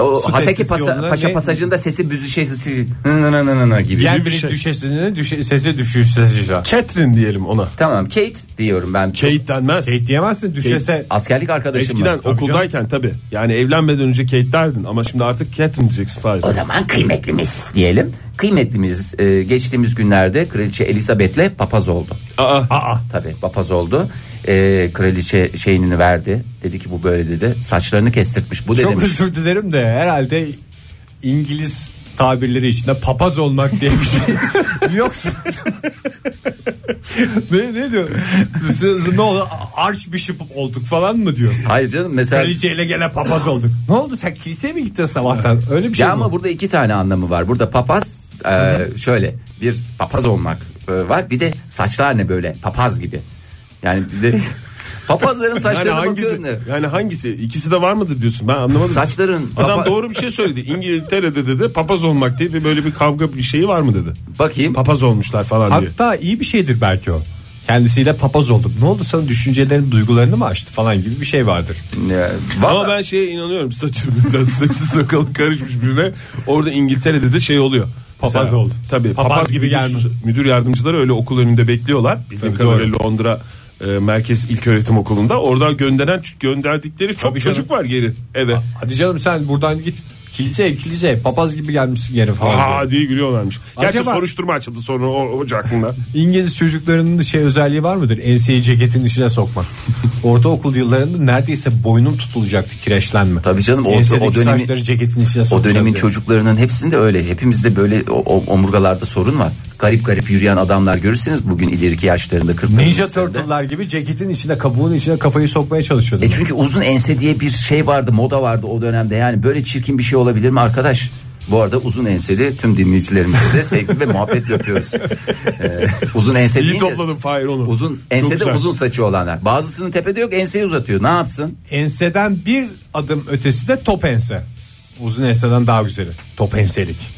[SPEAKER 4] O
[SPEAKER 2] Su
[SPEAKER 4] Haseki
[SPEAKER 2] tesisi
[SPEAKER 4] Pasa-
[SPEAKER 2] yoluna
[SPEAKER 4] Paşa
[SPEAKER 2] ne-
[SPEAKER 4] pasajında sesi büzüşesi nı nı nı nı nı gibi.
[SPEAKER 2] Cambridge
[SPEAKER 3] şey.
[SPEAKER 2] düşesinin düşe, sesi düşesi.
[SPEAKER 3] Catherine diyelim ona.
[SPEAKER 4] Tamam Kate diyorum ben.
[SPEAKER 3] Kate denmez.
[SPEAKER 2] Kate Şey diyemezsin düşese.
[SPEAKER 4] Askerlik arkadaşım
[SPEAKER 3] Eskiden
[SPEAKER 4] ben.
[SPEAKER 2] Tabii
[SPEAKER 3] okuldayken tabii. Yani evlenmeden önce Kate derdin ama şimdi artık Catherine diyeceksin Fahir.
[SPEAKER 4] O zaman kıymetlimiz diyelim. Kıymetlimiz e, geçtiğimiz günlerde Kraliçe Elizabeth'le papaz oldu.
[SPEAKER 3] Aa,
[SPEAKER 2] Aa,
[SPEAKER 4] Tabii papaz oldu. E, kraliçe şeyini verdi. Dedi ki bu böyle dedi. Saçlarını kestirtmiş. Bu ne
[SPEAKER 2] çok
[SPEAKER 4] demiş.
[SPEAKER 2] özür dilerim de herhalde İngiliz tabirleri içinde papaz olmak diye bir şey yok. ne, ne diyor? Siz- ne oldu? Archbishop olduk falan mı diyor?
[SPEAKER 4] Hayır canım mesela
[SPEAKER 2] Kraliçeyle gene papaz olduk. ne oldu sen kiliseye mi gittin sabahtan? Öyle bir şey
[SPEAKER 4] ya
[SPEAKER 2] mi?
[SPEAKER 4] ama burada iki tane anlamı var. Burada papaz e, şöyle bir papaz olmak e, var. Bir de saçlar ne böyle papaz gibi. Yani
[SPEAKER 3] [LAUGHS]
[SPEAKER 4] bir de papazların
[SPEAKER 3] Yani
[SPEAKER 4] saçlarına bakıyorum
[SPEAKER 3] hangisi?
[SPEAKER 4] da,
[SPEAKER 3] Yani hangisi? İkisi de var mıdır diyorsun? Ben anlamadım.
[SPEAKER 4] Saçların
[SPEAKER 3] Adam
[SPEAKER 4] papa-
[SPEAKER 3] doğru bir şey söyledi. İngiltere'de dedi papaz olmak diye bir böyle bir kavga bir şeyi var mı dedi.
[SPEAKER 4] bakayım.
[SPEAKER 3] Papaz olmuşlar falan diye.
[SPEAKER 2] Hatta iyi bir şeydir belki o. Kendisiyle papaz oldum. Ne oldu sana düşüncelerini duygularını mı açtı falan gibi bir şey vardır.
[SPEAKER 4] E,
[SPEAKER 3] Ama
[SPEAKER 4] vallahi-
[SPEAKER 3] ben şeye inanıyorum. Saçı [LAUGHS] mesela saçı sakalı karışmış birine. Orada İngiltere'de de şey oluyor.
[SPEAKER 2] Papaz
[SPEAKER 3] Mesela-
[SPEAKER 2] oldu.
[SPEAKER 3] Tabii.
[SPEAKER 2] Papaz
[SPEAKER 3] Papaz,
[SPEAKER 2] gibi
[SPEAKER 3] gibi
[SPEAKER 2] gelmiş.
[SPEAKER 3] gelmiş. Müdür yardımcıları öyle okul önünde bekliyorlar. Bildiğim
[SPEAKER 2] Tabii,
[SPEAKER 3] kadarıyla Londra e, Merkez İlköğretim Okulu'nda. Oradan gönderen gönderdikleri çok
[SPEAKER 2] Tabii canım. Ah,
[SPEAKER 3] çocuk var geri eve.
[SPEAKER 2] Hadi canım sen buradan git. Kiliseye kiliseye papaz gibi gelmişsin gene falan. diyor.
[SPEAKER 3] Ha diye gülüyorlarmış. Gerçi
[SPEAKER 2] Acaba-
[SPEAKER 3] soruşturma açıldı sonra o hoca hakkında.
[SPEAKER 2] İngiliz çocuklarının şey özelliği var mıdır? Enseyi ceketin içine
[SPEAKER 4] [LAUGHS]
[SPEAKER 2] sokmak. Ortaokul yıllarında neredeyse boynum tutulacaktı kireçlenme.
[SPEAKER 4] Tabii canım, o-
[SPEAKER 2] Ensedeki
[SPEAKER 4] o dönemi-
[SPEAKER 2] saçları ceketin içine
[SPEAKER 4] O
[SPEAKER 2] sokacağız
[SPEAKER 4] dönemin
[SPEAKER 2] yani.
[SPEAKER 4] çocuklarının hepsinde öyle. Hepimizde böyle o, o- omurgalarda sorun var. Garip garip yürüyen adamlar görürseniz bugün ileriki yaşlarında 40
[SPEAKER 2] Ninja Turtle'lar gibi ceketin içine kabuğun içine kafayı sokmaya çalışıyordu.
[SPEAKER 4] E çünkü uzun ense diye bir şey vardı, moda vardı o dönemde. Yani böyle çirkin bir şey olabilir mi arkadaş? Bu arada uzun enseli tüm dinleyicilerimize de sevgi ve
[SPEAKER 3] [LAUGHS]
[SPEAKER 4] muhabbetle öpüyoruz. Ee, uzun ense
[SPEAKER 3] İyi
[SPEAKER 4] deyince-
[SPEAKER 3] topladın Fahir onu.
[SPEAKER 4] Uzun
[SPEAKER 3] Çok
[SPEAKER 4] ensede
[SPEAKER 3] güzel.
[SPEAKER 4] uzun saçı olanlar. Bazısının tepede yok enseyi uzatıyor. Ne yapsın?
[SPEAKER 2] Enseden bir adım ötesi de top ense. Uzun enseden daha güzeli. Top enselik.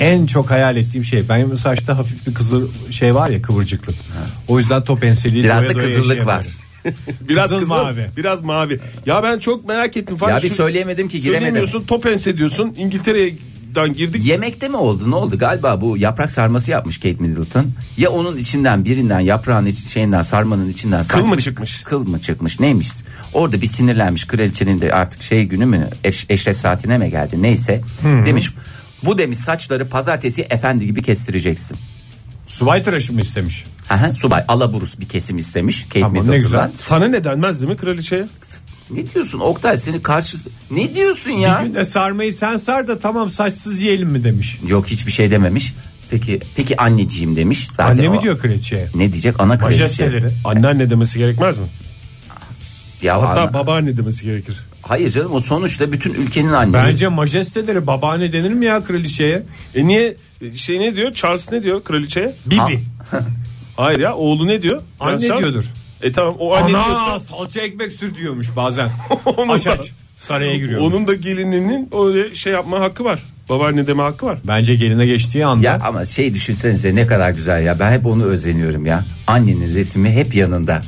[SPEAKER 2] En çok hayal ettiğim şey benim saçta hafif bir kızıl şey var ya kıvırcıklık. O yüzden top enseliği
[SPEAKER 4] Biraz
[SPEAKER 2] doya
[SPEAKER 4] da
[SPEAKER 2] doya
[SPEAKER 4] kızıllık var.
[SPEAKER 2] yaşayamıyorum.
[SPEAKER 3] Biraz
[SPEAKER 2] Kızıl
[SPEAKER 3] kızıl,
[SPEAKER 2] mavi.
[SPEAKER 3] biraz mavi. Ya ben çok merak ettim falan.
[SPEAKER 4] Ya bir söyleyemedim ki, giremedim.
[SPEAKER 3] Söylemiyorsun, top ense diyorsun. İngiltere'den girdik.
[SPEAKER 4] Yemekte mi oldu ne oldu galiba bu yaprak sarması yapmış Kate Middleton ya onun içinden birinden yaprağın iç, şeyinden sarmanın içinden
[SPEAKER 3] Kıl mı
[SPEAKER 4] saçmış-
[SPEAKER 3] çıkmış?
[SPEAKER 4] kıl mı çıkmış neymiş orada bir sinirlenmiş kraliçenin de artık şey günü mü eş, eşref saatine mi geldi neyse demiş bu demiş saçları pazartesi efendi gibi kestireceksin.
[SPEAKER 2] Subay tıraşı mı istemiş?
[SPEAKER 4] Aha, subay alaburus bir kesim istemiş Kate
[SPEAKER 2] Tamam, ne
[SPEAKER 4] Middleton'dan.
[SPEAKER 2] güzel.
[SPEAKER 3] Sana ne denmez değil mi kraliçeye?
[SPEAKER 4] Ne diyorsun Oktay seni karşı ne diyorsun ya?
[SPEAKER 2] Bir gün de sarmayı sen sar da tamam saçsız yiyelim mi demiş.
[SPEAKER 4] Yok hiçbir şey dememiş. Peki peki anneciğim demiş. Zaten
[SPEAKER 2] Anne mi
[SPEAKER 4] o-
[SPEAKER 2] diyor kraliçeye?
[SPEAKER 4] Ne diyecek ana kraliçe?
[SPEAKER 2] Majesteleri.
[SPEAKER 3] Anneanne demesi gerekmez mi?
[SPEAKER 4] Ya
[SPEAKER 3] Hatta
[SPEAKER 4] ana-
[SPEAKER 3] babaanne demesi gerekir.
[SPEAKER 4] Hayır canım o sonuçta bütün ülkenin annesi.
[SPEAKER 2] Bence majesteleri babaanne denir mi ya kraliçeye?
[SPEAKER 3] E niye şey ne diyor? Charles ne diyor kraliçeye?
[SPEAKER 2] Bibi.
[SPEAKER 4] Ha.
[SPEAKER 3] Hayır ya oğlu ne diyor?
[SPEAKER 2] Anne
[SPEAKER 3] Prens Charles.
[SPEAKER 2] diyordur.
[SPEAKER 3] E tamam o anne
[SPEAKER 2] Ana
[SPEAKER 3] diyorsa
[SPEAKER 2] Hani salça ekmek sür diyormuş
[SPEAKER 4] [LAUGHS]
[SPEAKER 2] bazen.
[SPEAKER 3] Onu
[SPEAKER 2] aç
[SPEAKER 3] da-
[SPEAKER 2] aç. Saraya giriyor.
[SPEAKER 3] onun da gelininin öyle şey yapma hakkı var. Babaanne deme hakkı var.
[SPEAKER 2] Bence geline geçtiği anda.
[SPEAKER 4] Ya ama şey düşünsenize ne kadar güzel ya. Ben hep onu özleniyorum ya. Annenin resmi hep yanında.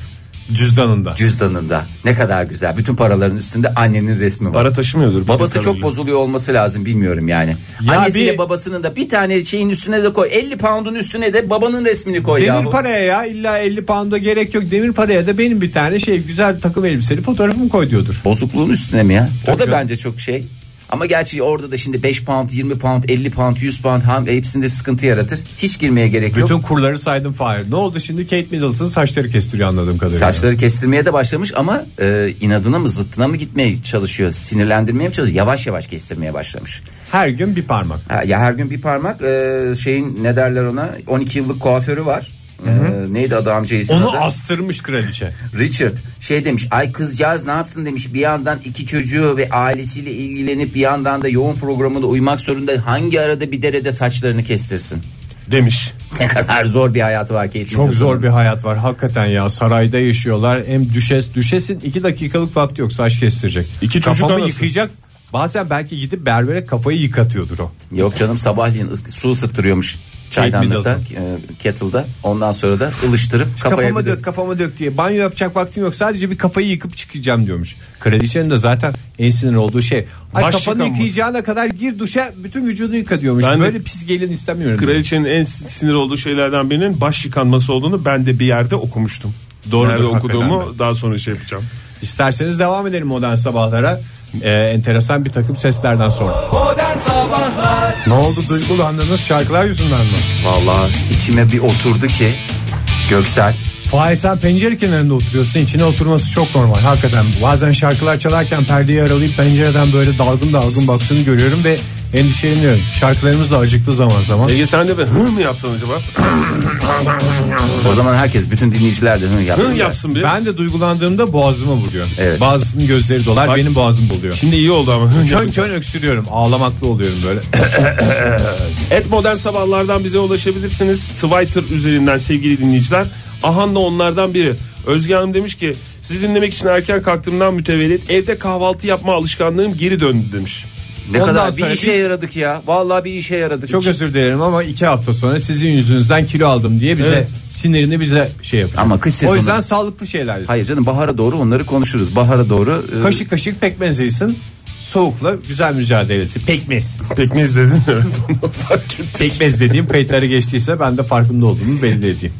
[SPEAKER 2] Cüzdanında.
[SPEAKER 4] Cüzdanında. Ne kadar güzel. Bütün paraların üstünde annenin resmi var.
[SPEAKER 3] Para taşımıyordur.
[SPEAKER 4] Babası
[SPEAKER 3] Bizim
[SPEAKER 4] çok
[SPEAKER 3] kraliçe.
[SPEAKER 4] bozuluyor olması lazım bilmiyorum yani.
[SPEAKER 2] Ya
[SPEAKER 4] Annesiyle
[SPEAKER 2] bir-
[SPEAKER 4] babasının da bir tane şeyin üstüne de koy. 50 pound'un üstüne de babanın resmini koy ya.
[SPEAKER 2] Demir paraya ya illa 50 pound'a gerek yok. Demir paraya da benim bir tane şey güzel takım elbiseli fotoğrafımı koy diyordur.
[SPEAKER 4] Bozukluğun üstüne mi ya? o da
[SPEAKER 2] canım.
[SPEAKER 4] bence çok şey. Ama gerçi orada da şimdi 5 pound, 20 pound, 50 pound, 100 pound ham hepsinde sıkıntı yaratır. Hiç girmeye gerek yok.
[SPEAKER 2] Bütün kurları saydım Fahir. Ne oldu şimdi Kate Middleton saçları kestiriyor anladığım kadarıyla.
[SPEAKER 4] Saçları kestirmeye de başlamış ama e, inadına mı zıttına mı gitmeye çalışıyor sinirlendirmeye mi çalışıyor yavaş yavaş kestirmeye başlamış.
[SPEAKER 2] Her gün bir parmak.
[SPEAKER 4] Ha, ya her gün bir parmak e, şeyin ne derler ona 12 yıllık kuaförü var. E, neydi adı amcayı
[SPEAKER 2] Onu
[SPEAKER 4] adı?
[SPEAKER 2] astırmış kraliçe.
[SPEAKER 4] Richard şey demiş ay kızcağız ne yapsın demiş bir yandan iki çocuğu ve ailesiyle ilgilenip bir yandan da yoğun programına uymak zorunda hangi arada bir derede saçlarını kestirsin. [LAUGHS]
[SPEAKER 3] demiş.
[SPEAKER 4] Ne kadar zor bir hayatı var ki.
[SPEAKER 2] Çok zor bir hayat var hakikaten ya. Sarayda yaşıyorlar. Hem düşes düşesin 2 dakikalık vakti yok saç kestirecek.
[SPEAKER 3] İki çocuk
[SPEAKER 2] Kafamı
[SPEAKER 3] anası.
[SPEAKER 2] yıkayacak. Bazen belki gidip berbere kafayı yıkatıyordur o.
[SPEAKER 4] Yok canım sabahleyin ıs- su ısıttırıyormuş çaydanlıkta, e, kettle'da. Ondan sonra da ılıştırıp kafaya
[SPEAKER 2] kafama
[SPEAKER 4] bir de-
[SPEAKER 2] dök kafama dök diye banyo yapacak vaktim yok sadece bir kafayı yıkıp çıkacağım diyormuş. Kraliçenin de zaten en sinir olduğu şey. Ay
[SPEAKER 3] Baş
[SPEAKER 2] kafanı
[SPEAKER 3] yıkanması.
[SPEAKER 2] yıkayacağına kadar gir duşa bütün vücudu yıka diyormuş.
[SPEAKER 3] Ben de-
[SPEAKER 2] Böyle pis gelin istemiyorum.
[SPEAKER 3] Kraliçenin en sinir olduğu şeylerden birinin baş yıkanması olduğunu ben de bir yerde okumuştum. Doğru Nerede
[SPEAKER 2] Doğrudur, hakikaten
[SPEAKER 3] okuduğumu daha sonra şey yapacağım.
[SPEAKER 2] İsterseniz devam edelim modern sabahlara. Ee, enteresan bir takım seslerden sonra.
[SPEAKER 5] Modern Sabahlar
[SPEAKER 2] Ne oldu duygulandınız şarkılar yüzünden mi?
[SPEAKER 4] Vallahi içime bir oturdu ki Göksel.
[SPEAKER 2] Fahir sen pencere kenarında oturuyorsun içine oturması çok normal hakikaten bazen şarkılar çalarken perdeyi aralayıp pencereden böyle dalgın dalgın baktığını görüyorum ve endişeleniyorum. Şarkılarımız da acıktı zaman
[SPEAKER 4] E,
[SPEAKER 2] zaman.
[SPEAKER 3] Ege sen de bir hı mı yapsan acaba?
[SPEAKER 4] O zaman herkes bütün dinleyiciler de hı yapsın.
[SPEAKER 3] Hı yapsın bir.
[SPEAKER 2] Ben de duygulandığımda boğazıma vuruyor.
[SPEAKER 4] Evet.
[SPEAKER 2] Bazısının gözleri dolar,
[SPEAKER 3] Bak-
[SPEAKER 2] benim boğazım buluyor.
[SPEAKER 3] Şimdi iyi oldu ama.
[SPEAKER 2] Kön kön öksürüyorum, ağlamaklı oluyorum böyle. [CLEARS THROAT]
[SPEAKER 3] Et Modern Sabahlardan bize ulaşabilirsiniz. Twitter üzerinden sevgili dinleyiciler. Ahan da onlardan biri. Özge Hanım demiş ki sizi dinlemek için erken kalktığımdan mütevellit evde kahvaltı yapma alışkanlığım geri döndü demiş.
[SPEAKER 4] Ne
[SPEAKER 2] Ondan
[SPEAKER 4] kadar bir
[SPEAKER 2] sonra
[SPEAKER 4] işe
[SPEAKER 2] biz-
[SPEAKER 4] yaradık ya. Vallahi bir işe yaradık.
[SPEAKER 2] Çok
[SPEAKER 4] Hiç-
[SPEAKER 2] özür dilerim ama iki hafta sonra sizin yüzünüzden kilo aldım diye bize
[SPEAKER 3] Evet.
[SPEAKER 2] sinirini bize şey yapıyor.
[SPEAKER 4] Ama kış sezonu-
[SPEAKER 2] O yüzden sağlıklı şeyler yesin.
[SPEAKER 4] Hayır canım bahara doğru onları konuşuruz. Bahara doğru e,
[SPEAKER 2] Kaşık kaşık pekmez yesin. Soğukla güzel mücadele etsin. Pekmez.
[SPEAKER 3] Pekmez dedin. Evet, onu fark ettim.
[SPEAKER 2] Pekmez dediğim kayıtları geçtiyse ben de farkında olduğumu belli edeyim.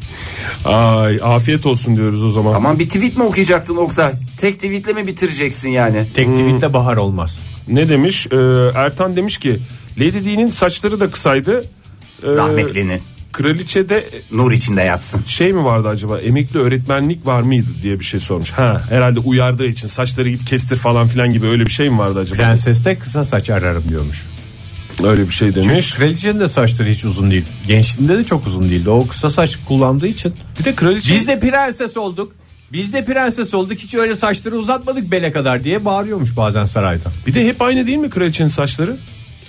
[SPEAKER 3] Ay afiyet olsun diyoruz o zaman.
[SPEAKER 4] Aman bir tweet mi okuyacaktın Oktay? Tek tweetle mi bitireceksin yani?
[SPEAKER 2] Tek tweetle bahar olmaz.
[SPEAKER 3] Ne demiş? Ee, Ertan demiş ki Lady Di'nin saçları da kısaydı. Ee,
[SPEAKER 4] Rahmetlinin
[SPEAKER 3] Kraliçe'de
[SPEAKER 4] nur içinde yatsın.
[SPEAKER 3] şey mi vardı acaba emekli öğretmenlik var mıydı diye bir şey sormuş. Ha herhalde uyardığı için saçları git kestir falan filan gibi öyle bir şey mi vardı acaba?
[SPEAKER 2] Prenseste kısa saç ararım diyormuş.
[SPEAKER 3] Öyle bir şey demiş.
[SPEAKER 2] Kraliçenin de saçları hiç uzun değil. Gençliğinde de çok uzun değildi. O kısa saç kullandığı için.
[SPEAKER 3] Bir de kraliçe
[SPEAKER 2] Biz de prenses olduk. Biz de prenses olduk. Hiç öyle saçları uzatmadık bele kadar diye bağırıyormuş bazen sarayda.
[SPEAKER 3] bir de hep aynı değil mi kraliçenin saçları?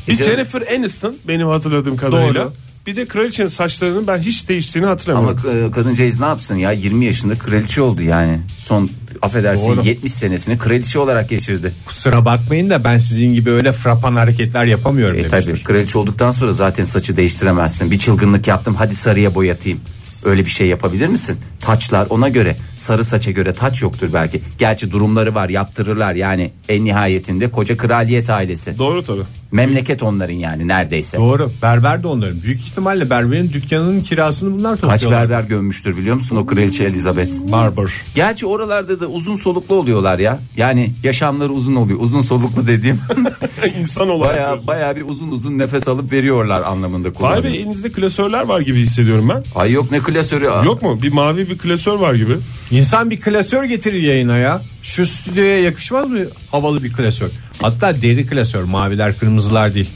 [SPEAKER 3] Bir
[SPEAKER 4] canım.
[SPEAKER 3] Jennifer Aniston benim hatırladığım kadarıyla.
[SPEAKER 2] Doğru.
[SPEAKER 3] Bir de kraliçenin saçlarının ben hiç değiştiğini
[SPEAKER 4] Ama
[SPEAKER 3] hatırlamıyorum.
[SPEAKER 4] e, kadıncağız ne yapsın ya 20 yaşında kraliçe oldu yani. Son affedersin
[SPEAKER 2] Doğru.
[SPEAKER 4] 70 senesini kraliçe olarak geçirdi.
[SPEAKER 2] Kusura bakmayın da ben sizin gibi öyle frapan hareketler yapamıyorum
[SPEAKER 4] E
[SPEAKER 2] demiştir.
[SPEAKER 4] tabi kraliçe olduktan sonra zaten saçı değiştiremezsin. Bir çılgınlık yaptım hadi sarıya boyatayım. Öyle bir şey yapabilir misin? Taçlar ona göre sarı saça göre taç yoktur belki. Gerçi durumları var yaptırırlar yani en nihayetinde koca kraliyet ailesi.
[SPEAKER 3] Doğru tabii. [LAUGHS]
[SPEAKER 4] Memleket onların yani neredeyse.
[SPEAKER 2] Doğru. Berber de onların. Büyük ihtimalle berberin dükkanının kirasını bunlar
[SPEAKER 4] Kaç
[SPEAKER 2] topluyorlar.
[SPEAKER 4] berber gömmüştür biliyor musun o kraliçe Elizabeth?
[SPEAKER 2] Barber.
[SPEAKER 4] Gerçi oralarda da uzun soluklu oluyorlar ya. Yani yaşamları uzun oluyor. Uzun soluklu dediğim
[SPEAKER 3] [LAUGHS] İnsan
[SPEAKER 4] [LAUGHS]
[SPEAKER 3] olarak.
[SPEAKER 4] baya baya bir uzun uzun nefes alıp veriyorlar anlamında
[SPEAKER 3] Vay be
[SPEAKER 4] kullanıyorum.
[SPEAKER 3] elinizde klasörler var gibi hissediyorum ben.
[SPEAKER 4] Ay yok ne klasörü.
[SPEAKER 3] Yok mu? Bir mavi bir klasör var gibi.
[SPEAKER 2] İnsan bir klasör getirir yayına ya. Şu stüdyoya yakışmaz mı havalı bir klasör? Hatta deri klasör. Maviler kırmızılar değil.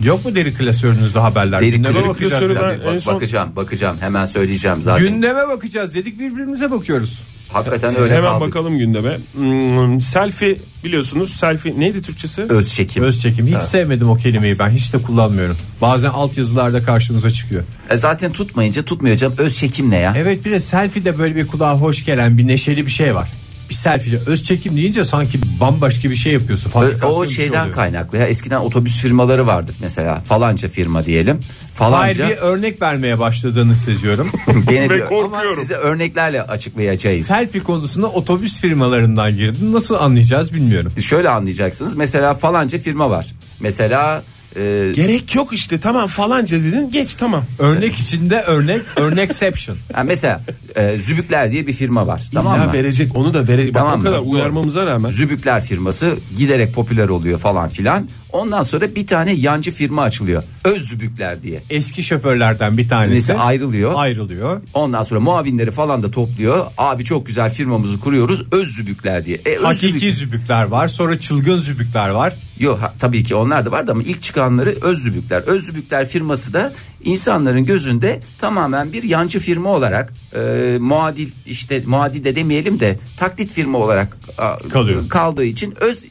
[SPEAKER 2] Yok mu deri klasörünüzde haberler?
[SPEAKER 4] Deri
[SPEAKER 2] Gündeme
[SPEAKER 4] klasörü-
[SPEAKER 2] bakacağız
[SPEAKER 3] klasörü
[SPEAKER 2] yani.
[SPEAKER 3] ben- En
[SPEAKER 4] Bak-
[SPEAKER 3] son-
[SPEAKER 4] Bakacağım bakacağım hemen söyleyeceğim zaten.
[SPEAKER 2] Gündeme bakacağız dedik birbirimize bakıyoruz.
[SPEAKER 4] Hakikaten öyle
[SPEAKER 3] Hemen
[SPEAKER 4] kaldık.
[SPEAKER 3] bakalım gündeme. Hmm, selfie biliyorsunuz. Selfie neydi Türkçesi?
[SPEAKER 4] Öz çekim.
[SPEAKER 2] Öz çekim. Hiç sevmedim o kelimeyi ben. Hiç de kullanmıyorum. Bazen alt yazılarda karşımıza çıkıyor.
[SPEAKER 4] E zaten tutmayınca tutmayacağım. Öz çekim ne
[SPEAKER 3] E,
[SPEAKER 4] ya?
[SPEAKER 2] Evet bir de selfie de böyle bir kulağa hoş gelen bir neşeli bir şey var. Bir selfie öz çekim deyince sanki bambaşka bir şey yapıyorsun.
[SPEAKER 4] Ö-
[SPEAKER 2] fabrikasyon
[SPEAKER 4] O
[SPEAKER 2] bir şey
[SPEAKER 4] şeyden
[SPEAKER 2] oluyor.
[SPEAKER 4] kaynaklı ya eskiden otobüs firmaları vardır mesela falanca firma diyelim
[SPEAKER 2] Hayır
[SPEAKER 4] falanca
[SPEAKER 2] bir örnek vermeye başladığını seziyorum.
[SPEAKER 4] [LAUGHS] gene
[SPEAKER 3] Ve
[SPEAKER 4] diyor. ama
[SPEAKER 3] korkuyorum.
[SPEAKER 4] size örneklerle açıklayacağız.
[SPEAKER 2] selfie konusunda otobüs firmalarından girdin. Nasıl anlayacağız bilmiyorum.
[SPEAKER 4] Şöyle anlayacaksınız mesela falanca firma var mesela e,
[SPEAKER 3] Gerek yok işte tamam falanca dedin geç tamam.
[SPEAKER 2] Örnek içinde örnek, örnekception.
[SPEAKER 4] ha mesela e, Zübükler diye bir firma var [LAUGHS] tamam
[SPEAKER 3] İlla
[SPEAKER 4] mı?
[SPEAKER 3] verecek onu da verecek. Bak
[SPEAKER 4] Tamam
[SPEAKER 3] o
[SPEAKER 4] mı?
[SPEAKER 3] kadar
[SPEAKER 4] Doğru.
[SPEAKER 3] uyarmamıza rağmen.
[SPEAKER 4] Zübükler firması giderek popüler oluyor falan filan. Ondan sonra bir tane yancı firma açılıyor. Öz Zübükler diye.
[SPEAKER 2] Eski şoförlerden bir tanesi
[SPEAKER 4] Birisi ayrılıyor.
[SPEAKER 2] ayrılıyor.
[SPEAKER 4] Ondan sonra muavinleri falan da topluyor. Abi çok güzel firmamızı kuruyoruz. Öz Zübükler diye. E, öz
[SPEAKER 2] Hakiki
[SPEAKER 4] Zübük-
[SPEAKER 2] zübükler var. Sonra çılgın zübükler var.
[SPEAKER 4] Yok ha- tabii ki onlar da vardı ama ilk çıkanları Öz Zübükler. Öz Zübükler firması da insanların gözünde tamamen bir yancı firma olarak e, muadil işte muadil de demeyelim de taklit firma olarak a,
[SPEAKER 2] Kalıyor.
[SPEAKER 4] kaldığı için öz e,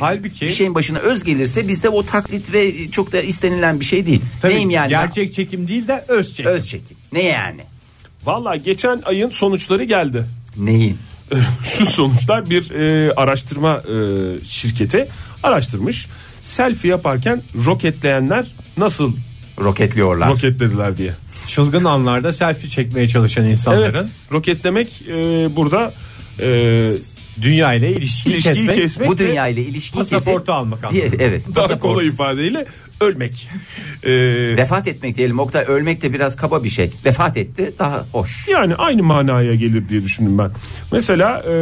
[SPEAKER 2] Halbuki-
[SPEAKER 4] bir şeyin başına öz gelirse bizde o taklit ve çok da istenilen bir şey değil.
[SPEAKER 2] Tabii
[SPEAKER 4] Neyim yani?
[SPEAKER 2] Gerçek çekim değil de öz çekim.
[SPEAKER 4] Öz çekim. Ne yani?
[SPEAKER 3] Valla geçen ayın sonuçları geldi.
[SPEAKER 4] Neyin?
[SPEAKER 3] [LAUGHS] Şu sonuçlar bir e, araştırma e, şirketi araştırmış. Selfie yaparken roketleyenler nasıl
[SPEAKER 4] Roketliyorlar.
[SPEAKER 3] roketlediler diye.
[SPEAKER 2] Çılgın anlarda selfie çekmeye çalışan insanların
[SPEAKER 3] Evet roketlemek e, burada e,
[SPEAKER 2] dünya ile ilişkiyi
[SPEAKER 3] İlişkiyi
[SPEAKER 2] kesmek.
[SPEAKER 3] kesmek.
[SPEAKER 4] Bu dünya ile ilişki
[SPEAKER 2] Pasaportu
[SPEAKER 4] kesin-
[SPEAKER 2] almak
[SPEAKER 4] diye,
[SPEAKER 2] anlamında.
[SPEAKER 4] Evet.
[SPEAKER 3] daha
[SPEAKER 4] pasaport.
[SPEAKER 3] kolay ifadeyle ölmek.
[SPEAKER 4] [LAUGHS]
[SPEAKER 3] E,
[SPEAKER 4] Vefat etmek diyelim Oktay ölmek de biraz kaba bir şey. Vefat etti daha hoş.
[SPEAKER 3] Yani aynı manaya gelir diye düşündüm ben. Mesela e,